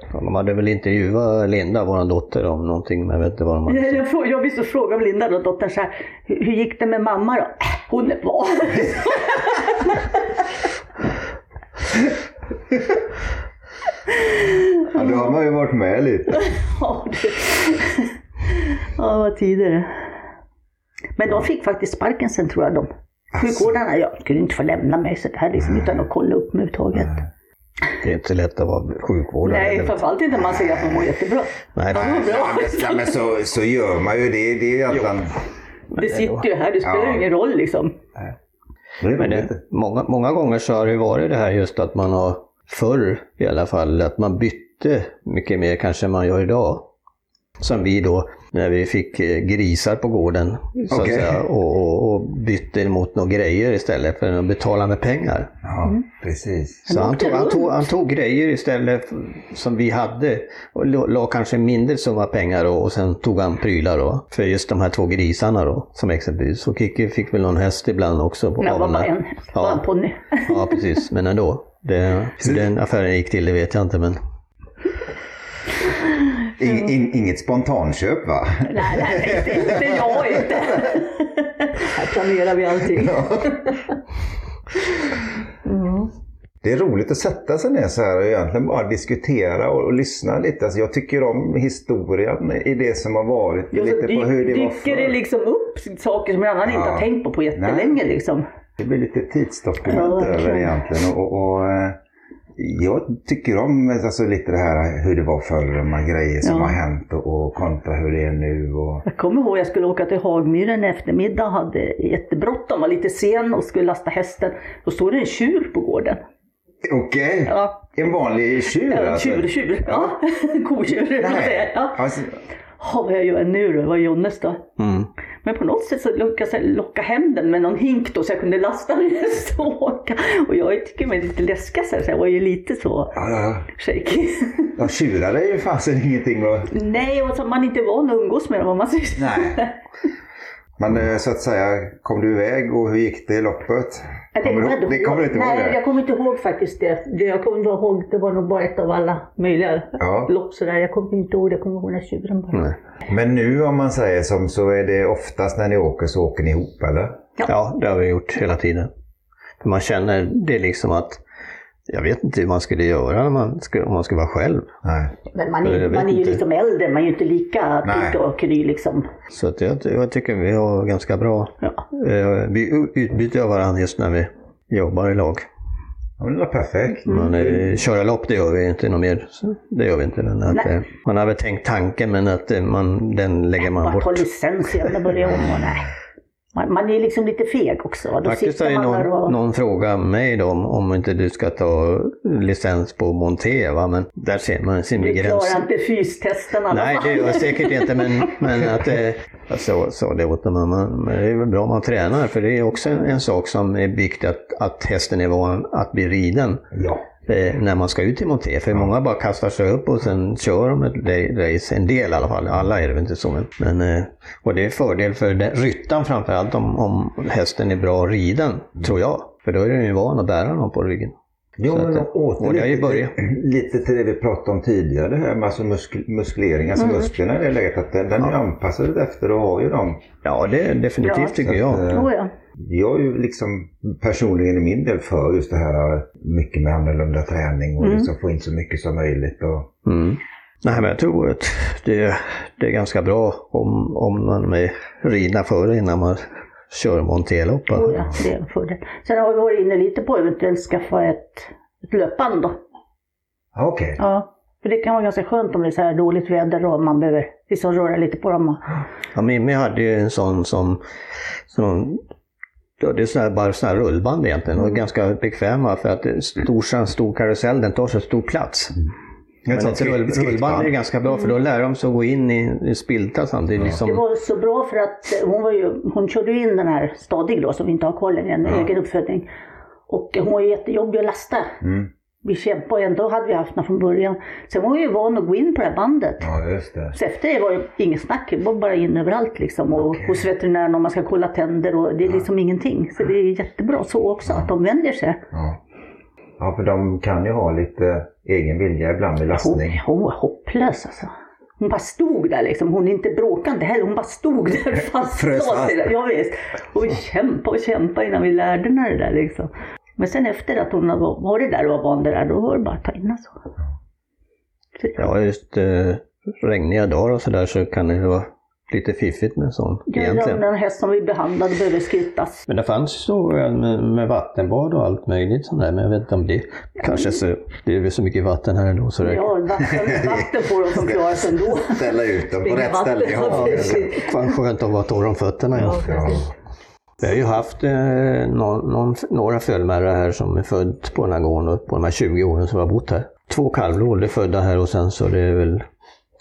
B: Ja, De hade väl intervjuat Linda, vår dotter, om någonting, men jag vet inte vad de hade
C: Jag, jag, frå- jag visste fråga om Linda, då, dottern, så här, hur, hur gick det med mamma då? Hon är bra.
A: Ja, då har man ju varit med lite.
C: Ja, du. ja vad tider det Men de fick faktiskt sparken sen tror jag de. Sjukvårdarna, jag skulle inte få lämna mig sådär liksom, utan att kolla upp mig överhuvudtaget.
B: Det är inte så lätt att vara sjukvårdare.
C: Nej,
B: Det-
C: framförallt inte när man säger att man mår jättebra.
B: Nej,
C: Ja,
A: Nej,
C: bra.
A: men- ja, men så, så gör man ju det. Det är ju att man...
C: Det sitter ju här, det spelar
A: Ja.
C: ju ingen roll liksom.
B: men det, många, många gånger så har det varit det här just att man har, förr i alla fall, att man bytte mycket mer kanske än man gör idag. Som vi då, när vi fick eh, grisar på gården så att
A: Okej.
B: säga, och, och, och bytte mot några grejer istället för att betala med pengar.
A: Ja,
C: Mm.
A: precis.
B: Så han
C: åkte
B: tog, han,
C: runt.
B: tog, han tog grejer istället f- som vi hade och la, la kanske en mindre summa pengar då, och sen tog han prylar då. För just de här två grisarna då, som exempelvis. Och Kikki fick väl någon häst ibland också. På
C: Men jag var
B: av den
C: bara
B: här-
C: en, bara en ponny.
B: Ja, precis. Men ändå. Det, hur den affären gick till, det vet jag inte. Men
A: In, in, inget spontanköp va?
C: nej, nej, inte, inte jag inte. här planerar vi allting.
A: Det är roligt att sätta sig ner så här och egentligen bara diskutera och, och lyssna lite. Alltså, jag tycker om historien i det som har varit.
C: Ja, så
A: lite
C: dy-
A: på hur det var
C: dyker det
A: förr.
C: liksom upp saker som jag annan inte
A: Ja.
C: har tänkt på på jättelänge liksom.
A: Det blir lite
C: Ja,
A: tidsdokument
C: verkligen.
A: över egentligen. Och, och, och, eh, jag tycker om alltså, lite det här hur det var förr, de här grejer som
C: Ja.
A: har hänt och, och kontra hur det är nu. Och,
C: Jag kommer ihåg jag skulle åka till Hagmyren i eftermiddag, hade jättebråttom, var lite sen och skulle lasta hästen. Då stod det en tjur på gården.
A: Okej,
C: Ja,
A: en vanlig tjur
C: en
A: alltså?
C: tjur, tjur. Ja, kotjur. eller vad man säger.
A: Nej.
C: Ja.
A: Alltså,
C: Ja, vad jag gör nu då? Vad gör Jonnes då?
B: mm.
C: Men på något sätt så lyckades jag locka hem den med någon hink då så jag kunde lasta den häst och åka. Och jag tycker mig lite läskig så här, så jag var ju lite så
A: ja, ja.
C: shaky.
A: ja, tjurar är ju fasen ingenting att...
C: Nej, och som man inte är van att umgås med dem om man säger.
A: Nej. Men eh, så att säga, kom du iväg och hur gick det i loppet?
C: Ja,
A: Kommer du-
C: jag
A: det kommer du inte ihåg?
C: Nej,
A: det?
C: jag kommer inte ihåg faktiskt det. det. Jag kommer bara ihåg, det var nog bara ett av alla möjliga
A: Ja.
C: lopp sådär. Jag kommer inte ihåg, jag kommer ihåg när tjuren bara.
B: nej.
A: Men nu om man säger som så är det oftast när ni åker så åker ni ihop eller?
B: Ja, det har vi gjort hela tiden. För man känner det liksom att jag vet inte hur man skulle göra när man skulle, om man skulle vara själv.
A: Nej.
C: Men man
B: Ja, jag
C: är,
B: vet
C: man är ju
B: inte.
C: liksom äldre, man är ju inte lika
A: Nej.
C: pigg och kry liksom.
B: Så att jag, jag tycker vi har ganska bra
C: Ja.
B: Eh, Vi u- utbyter av varandra just när vi jobbar i lag.
A: Ja, men det var perfekt.
B: Men eh, köra lopp det gör vi inte något mer. Det gör vi inte. Men att,
C: Nej.
B: eh, man har väl tänkt tanken men att eh, man, den lägger man
C: Bara ta
B: bort.
C: licens igen och börja om. Och nej. Man, man är liksom lite feg också. Då
B: Faktiskt har
C: sitter
B: ju
C: man där
B: någon,
C: och...
B: någon frågat mig då om, om inte du ska ta licens på Monté, va? men där ser man sin
C: Du
B: begränsning.
C: klarar inte fystesten i alla
B: Nej,
C: fall.
B: det gör jag säkert inte, men, men att eh, jag sa, sa det åt dem, man, men det är väl bra om man tränar, för det är också en, en sak som är byggt att, att hästen är van att bli riden
A: Ja.
B: eh, när man ska ut i monté. För många bara kastar sig upp och sen kör de ett ra- race, en del i alla fall. Alla är det väl inte så, men, men eh, och det är fördel för den, ryttaren framförallt om, om hästen är bra riden, tror jag. För då är den ju van att bära någon på ryggen.
A: Jo,
B: Så
A: men
B: att-
A: åter
B: och det är ju
A: eh, lite-
B: början.
A: lite till det vi pratade om tidigare, det här med alltså muskl- muskulering, alltså musklerna i det läget, att den, den är anpassad efter och har ju dem.
B: Ja, det är definitivt
C: Ja.
B: tycker jag.
A: Så att, eh,
C: Oh, ja.
A: Jag är ju liksom personligen i min del för just det här eh, mycket med annorlunda träning och liksom få in så mycket som möjligt. Och,
B: Mm. Nej, men jag tror att det, det är ganska bra om, om man är ridna före innan man kör montelopp.
C: Oh, ja. Det är en fördel. Sen har vi varit inne lite på att eventuellt skaffa ett, ett löpband. Då.
A: Ja, okej.
C: Ja. För det kan vara ganska skönt om det är så här dåligt väder och man behöver liksom röra lite på dem. och-
B: Ja, Mimmi hade ju en sån som, som ja, det är sån här, bara sån här rullband egentligen och ganska bekväma för att det är stor, en stor karusell, den tar så stor plats. Men
A: sånt
B: ett rull,
A: skritt-
B: rullband är
A: skrittband.
B: ganska bra för då lär de sig att gå in i, i spilta samtidigt. Liksom.
C: Det var så bra för att eh, hon, var ju, hon körde ju in den här Stadig då som vi inte har kvar längre, en egen uppfödning. Och hon var ju jättejobbig att lasta.
A: Mm.
C: Vi kämpade och ändå hade vi haft den från början. Sen var hon ju van att gå in på det här bandet.
A: Ja, just det.
C: Så efter det var det inget snack, det var bara in överallt liksom. Och hos veterinären om man ska kolla tänder och det är liksom ingenting. Så det är jättebra så också, att de vänder sig.
A: Ja. ja, för de kan ju ha lite egen vilja ibland vid
C: Hon,
A: lastning.
C: hon var hopplös alltså. Hon bara stod där liksom. Hon inte bråkade inte heller. Hon bara stod där
A: Frös
C: fastlåst.
A: fast.
C: i det. Ja, visst. Och kämpa och kämpa innan vi lärde henne det där liksom. Men sen efter att hon var varit där och var van det där, då var det bara att ta in alltså.
B: Ja, just eh, regniga dagar och sådär så kan det ju vara lite fiffigt med sånt
C: Det är
B: egentligen.
C: den häst som vi behandlade behöver skrittas.
B: Men det fanns ju så eh, med, med vattenbad och allt möjligt sånt där, men jag vet inte om det kanske så, det är väl så mycket vatten här ändå så det
C: Ja, vatten, vatten får de som klarar sig ändå.
A: Ställa ut dem på
C: Springa
A: rätt ställe.
C: vatten.
A: Ja,
B: Fan skönt att vara torr om fötterna. Ja.
A: ja.
B: Vi har ju haft eh, någon, någon, några fölmärrar här som är född på den här gården och på de här 20 åren som vi har bott här. Två kalvblod är födda här och sen så det är väl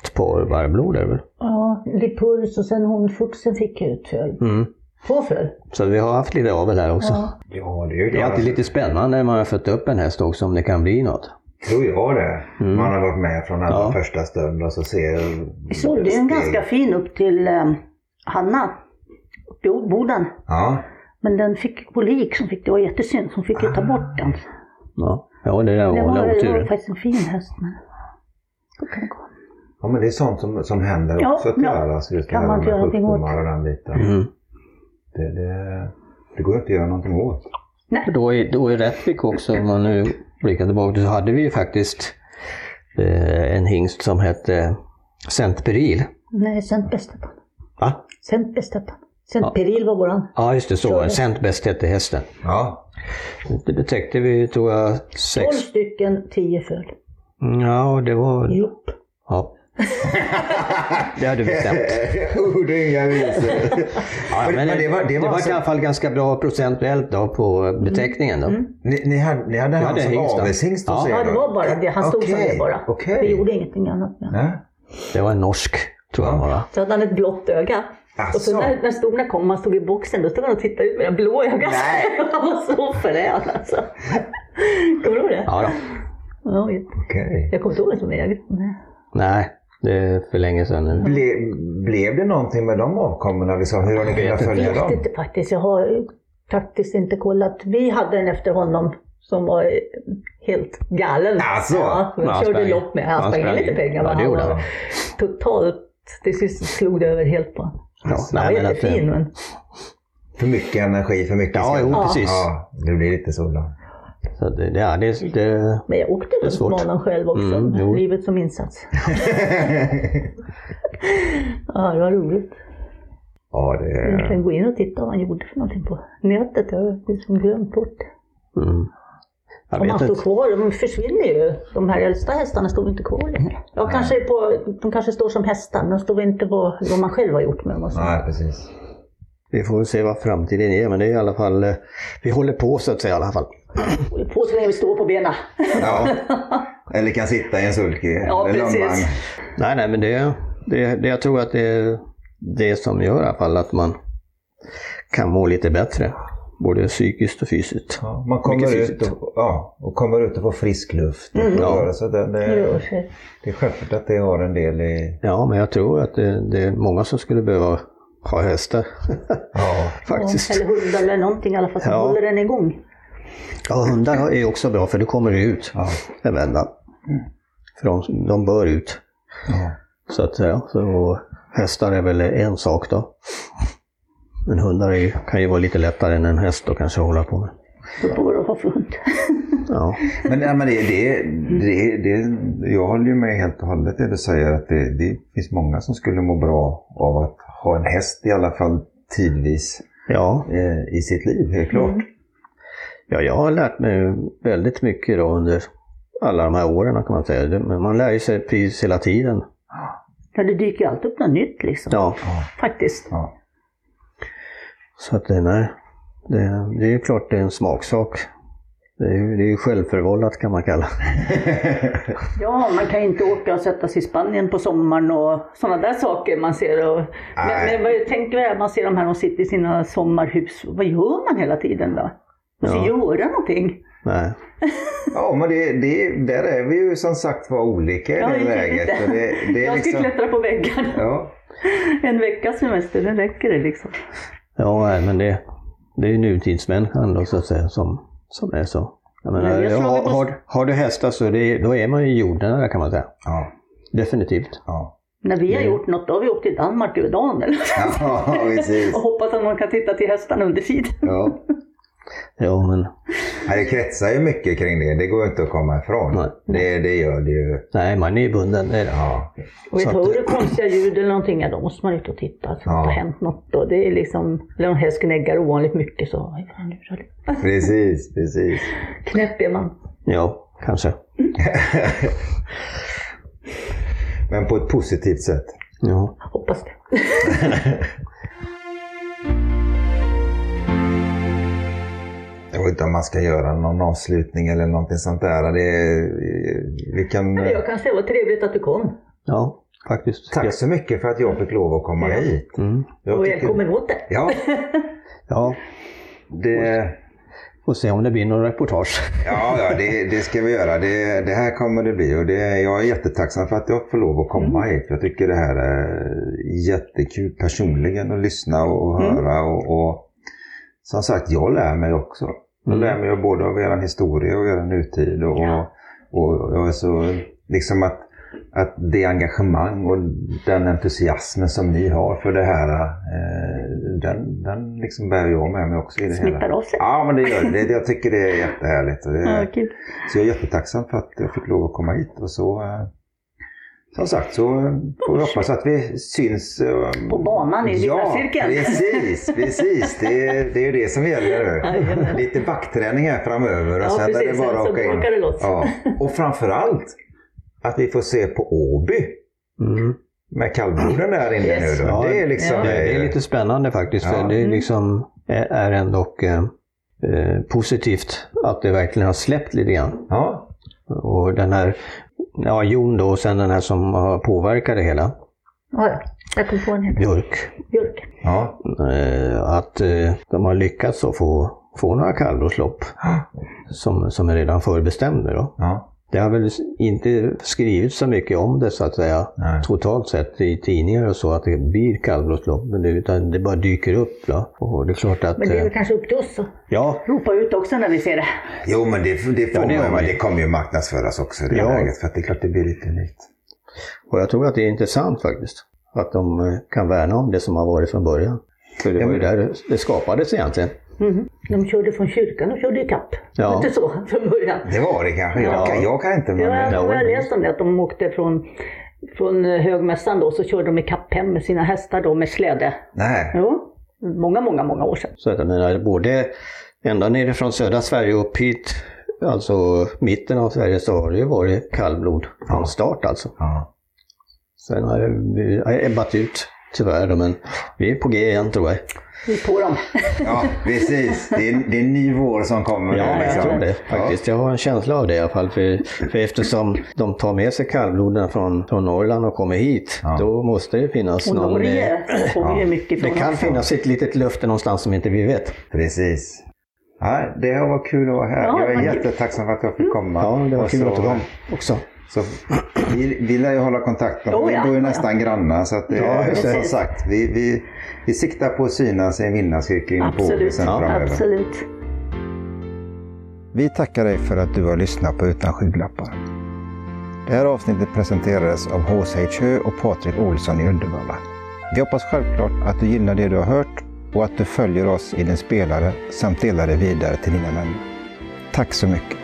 B: ett par vargblod är det väl.
F: Ja, Lipuls och sen hon Fuxen fick ut föl.
B: Mm.
F: Två föl.
B: Så vi har haft lite avel här också.
A: ja, det är ju
B: Det är
A: klart.
B: alltid lite spännande när man har fött upp en häst också om det kan bli något.
A: tror jag det. Man har varit med från allra
B: Ja.
A: första stund och så ser...
C: Vi sålde ju en ganska fin upp till eh, Hanna, uppe i Boden.
A: Ja.
C: Men den fick kolik, som fick, det var jättesynd, som fick ju ta bort den.
B: Ja, ja det är den
C: Det var,
B: vanliga
C: det var
B: oturen.
C: faktiskt en fin häst. Men... då kan det gå.
A: ja, men det är sånt som, som händer
C: Ja,
A: också
C: ja.
A: tyvärr. Alltså just det
C: Kan
A: här
C: man
A: med
C: inte göra någonting
A: sjukdomar och den biten.
B: Mm.
A: Det, det, det går ju inte att göra någonting åt.
B: Då i, då i Rättvik också, om man nu blickar tillbaka, så hade vi ju faktiskt eh, en hingst som hette Centperil.
F: Nej, Sent Bästettan.
B: Va?
F: Sent Bästettan. Sent Peril var våran.
B: Ja, just det, så var det. Centbest hette hästen.
A: Ja.
B: Det betäckte vi, tror jag,
F: Tolv Mm.
B: sex... Mm,
F: stycken, tio föl.
B: Ja, det var...
F: Ihop.
B: Ja. Det hade vi bestämt.
A: Ord och inga visor.
B: Ja, men
A: men
B: det var, det var,
A: alltså-
B: i alla fall ganska bra procentuellt då på beteckningen. Då.
F: Mm.
A: Ni, ni hade, ni hade han
B: hade
A: som
B: hingst, då.
A: avelshingst
B: Ja.
A: hos er
F: Ja, det
A: då?
F: var bara det. Han stod som
A: Okej,
F: det bara.
A: Okej.
F: Vi gjorde ingenting annat. Med.
A: Nej.
B: Det var en norsk, tror jag bara.
F: Så hade han ett blått öga. Och
A: Asså.
F: så när, när storna kom och han stod i boxen, då stod han och tittade ut med det blå ögat. han var så förrädd alltså. Kommer du ihåg det?
B: Ja, då.
F: Ja.
A: Okej.
F: Jag kommer inte ihåg det som en ögat.
B: Nej, det är för länge sedan nu.
F: Mm.
A: Ble, blev det någonting med de avkommorna? Liksom? Hur har ni kunnat följa
F: Jag vet
A: dem?
F: inte faktiskt. Jag har faktiskt inte kollat. Vi hade en efter honom som var eh, helt galen.
A: Alltså?
F: Ja, vi
B: Men han
F: körde
B: sprang-
F: lopp med. Han sprang in lite pengar.
B: Ja,
F: men
B: det gjorde
F: var
B: han.
F: Totalt. Till sist slog det över helt på honom.
B: Ja,
F: Han
B: nej,
F: var
B: men att, eh,
F: jättefin men
A: För mycket energi, för mycket
B: ja,
A: skatt.
B: jo, precis.
A: Ja, det blir lite så ibland.
B: Så det, det, ja,
F: Mm.
B: det, det,
F: Men jag åkte
B: är
F: runt
B: svårt.
F: med honom själv också.
B: Mm, jo.
F: livet som insats. ja, det var roligt.
A: Ja, det
F: Jag
A: är...
F: kan gå in och titta vad han gjorde för någonting på nätet. Jag har liksom glömt bort.
B: Mm. Jag
C: Om
B: vet
C: han
B: inte.
C: stod kvar, de försvinner ju. De här äldsta hästarna stod inte kvar
B: Mm.
C: längre. Ja, kanske på, de kanske står som hästar, men de står inte på vad man själv har gjort med dem. och så.
G: Nej, precis.
B: Vi får väl se vad framtiden är, men det är i alla fall, eh, vi håller på så att säga i alla fall.
C: Och På så länge vi står på benen.
A: Ja. Eller kan sitta i en sulky
C: Ja,
A: eller
C: precis.
A: långvagn.
B: Nej, nej, men det, det, det jag tror att det är det som gör i alla fall att man kan må lite bättre. Både psykiskt och fysiskt.
G: Ja, man kommer
B: Mycket
G: ut
B: fysiskt.
G: och, ja, och kommer ut och får frisk luft. Och får
B: Ja.
G: röra sig. det,
B: Eh,
C: Rör
G: det,
C: sig.
G: det är självklart att det har en del i...
B: Ja, men jag tror att det, det är många som skulle behöva ha hästar.
G: Ja,
B: Faktiskt.
C: Eller hundar eller någonting i alla fall som
B: Ja.
C: håller den igång.
B: Ja, hundar är också bra för då kommer det ut Mm. en vända. För de, de bör ut.
G: Ja.
B: Så att säga. Så, och hästar är väl en sak då. Men hundar är, ju- kan ju vara lite lättare än en häst att kanske hålla på med.
C: Då får de ha för hund.
B: Ja,
A: Men, nej, men det, det, det, det, jag håller ju med helt och hållet det du säger att det, det finns många som skulle må bra av att ha en häst i alla fall tidvis
B: ja.
A: eh, i sitt liv, helt klart.
B: ja jag har lärt mig väldigt mycket då under alla de här åren kan man säga. Det- Men man lär ju sig precis hela tiden.
C: Ja, det dyker ju alltid upp något nytt liksom.
B: Ja,
C: Faktiskt.
A: Ja.
B: så att det, nej. Det, det är ju klart det är en smaksak. Det är ju det är ju självförvållat kan man kalla det.
C: Ja, man kan ju inte åka och sätta sig i Spanien på sommaren och sådana där saker man ser. Och, men, men vad jag tänker är att man ser de här, de sitter i sina sommarhus. Vad gör man hela tiden då? Man ska
B: Ja.
C: göra någonting.
B: Nej.
A: Ja, men det, det, där är vi ju som sagt var olika i
C: Ja,
A: det
C: jag vet
A: läget.
C: inte.
A: Och det, det är
C: jag ska
A: liksom,
C: klättra på väggarna.
A: ja,
C: En veckas semester, det räcker det liksom.
B: Ja, nej, men det, det är ju nutidsmänniskan då så att säga som, som är så. Jag menar,
C: Men jag tror vi
B: har,
C: måste-
B: har, har du hästar så det, då är man ju jordnära kan man säga.
A: ja,
B: Definitivt.
A: ja.
C: När vi har gjort något, då har vi åkt till Danmark över dagen eller?
A: ja, precis.
C: och hoppas att någon kan titta till hästarna under tiden.
A: Ja.
B: Ja, men
A: Ja, det kretsar ju mycket kring det. Det går ju inte att komma
B: Nej.
A: ifrån. Det, det gör det ju.
B: nej, man är ju bunden. Det är det.
A: Ja,
C: Och
B: Så
C: vet,
B: att-
C: hör du konstiga ljud eller någonting, ja, då måste man ut och titta. Så att
A: Ja.
C: Det har hänt något då. Det är liksom, eller om häst gnäggar ovanligt mycket så, "Vad är det nu då?"
A: precis, precis.
C: knäpp är man.
B: Ja, kanske.
A: Men på ett positivt sätt.
B: Ja.
C: Hoppas det.
A: Jag vet inte om man ska göra någon avslutning eller någonting sånt där. Det, är- vi kan,
C: Men jag kan säga, vad trevligt att du kom.
B: ja, faktiskt.
A: tack så mycket för att jag fick lov att komma hit.
B: Mm.
A: Jag
C: och
A: tycker-
C: välkommen åter.
A: Ja,
B: Ja,
A: det,
B: får se om det blir några reportage.
A: ja, ja det, det ska vi göra. Det, det här kommer det bli. Och det, jag är jättetacksam för att jag får lov att komma hit. Jag tycker det här är jättekul personligen att lyssna och, och höra. Och, och, som sagt, jag lär mig också. Jag
B: Mm.
A: lär mig ju både av er historia och er nutid. Och, och, och så, liksom att, att det engagemang och den entusiasmen som ni har för det här, eh, den, den liksom bär jag med mig också i det
C: Smittar
A: hela.
C: av sig.
A: Ja, men det gör det. det. Jag tycker det är jättehärligt. Och det,
C: Ja, kul.
A: Så jag är jättetacksam för att jag fick lov att komma hit. Och så, eh, som sagt så eh, får vi hoppas att vi syns. eh,
C: På banan i
A: Ja,
C: cirkeln.
A: precis, precis. Det är, det är ju det som gäller nu.
C: Jajamän.
A: Lite backträning här framöver och
C: Ja,
A: sen är det
C: precis.
A: bara att
C: Sen så
A: åka in.
C: brakar det loss.
A: Ja. Och framförallt att vi får se på Åby
B: Mm.
A: med kallbloden där inne
C: Yes.
A: nu. Då.
B: Ja,
A: det är liksom...
C: ja.
B: Det, det är lite spännande faktiskt.
A: Ja.
B: För det är
C: Mm.
B: liksom är- är ändå eh, eh, positivt att det verkligen har släppt lite grann.
A: Ja,
B: Och den här, ja Jon då och sen den här som har påverkat det hela,
C: Ja, ja. Jag kom på en hel
B: Björk.
C: Björk.
A: ja.
B: Eh, att eh, de har lyckats att få, få några kallblodslopp som, som är redan förbestämda då.
A: ja.
B: Det har väl inte skrivits så mycket om det så att säga,
A: Nej.
B: totalt sett i tidningar och så, att det blir kallblodslopp. Men det, utan det bara dyker upp. Då. Och det är klart att...
C: Men det är
B: eh,
C: väl kanske upp till oss att
B: Ja,
C: ropa ut också när vi ser det.
A: Jo, men det, det, får
B: Ja, det
A: man,
B: har
A: men
B: vi.
A: det kommer ju marknadsföras också i det
B: Ja.
A: läget. För att det är klart det blir lite nytt.
B: och jag tror att det är intressant faktiskt. Att de eh, kan värna om det som har varit från början. För det var ju där det- det skapades egentligen.
C: Mhm. De körde från kyrkan, de körde ikapp.
B: Ja.
C: Inte så från början.
A: Det var det kanske. Jag,
B: Ja.
A: kan, jag kan inte. Men,
C: Ja, jag
B: Ja,
C: har
B: men-
C: läst om det, att de åkte från, från eh, högmässan då, så körde de ikapp hem med sina hästar då med släde.
A: Nej.
C: Jo, många, många, många år sedan.
B: Så att jag menar, både ända nerifrån södra Sverige upp hit alltså mitten av Sverige så har det ju varit kallblod från start alltså.
D: Ja.
B: Sen har det vi har ebbat ut tyvärr då, men vi är på G igen tror jag.
H: Vi är på dem.
A: Ja, precis. Det är, det är en ny vår som kommer.
B: Ja,
A: nu,
D: Eh,
B: jag
A: liksom.
B: tror det faktiskt. Jag har en känsla av det i alla fall. För, för eftersom de tar med sig kallbloden från, från Norrland och kommer hit,
D: Ja.
B: då måste det finnas
H: Och
B: någon... eh,
H: Norge kommer ju mycket
B: Det
H: från
B: kan
H: också.
B: finnas ett litet löfte någonstans som inte vi vet.
A: Ja, precis.
D: Ja, det har varit kul att vara här.
H: Ja,
D: jag är
H: vad kul. Mm.
D: jättetacksam för att jag fick komma.
B: Ja, det var
D: Och
B: kul
D: så-
B: att du kom också.
A: Så vi, vi lär ju hålla kontakten.
H: Oh,
A: vi
H: ja.
A: bor ju nästan grannar. Så att, det-
B: Ja, just det.
A: som sagt, vi, vi, vi siktar på att synas i en vinnarcirkel in på Åby
H: Absolut.
A: sen framöver.
H: Absolut.
A: Vi tackar dig för att du har lyssnat på Utan skygglappar. Det här avsnittet presenterades av H.C. Hö och Patrik Olsson i Uddevalla. Vi hoppas självklart att du gillar det du har hört och att du följer oss i din spelare samt delar det vidare till dina vänner. Tack så mycket!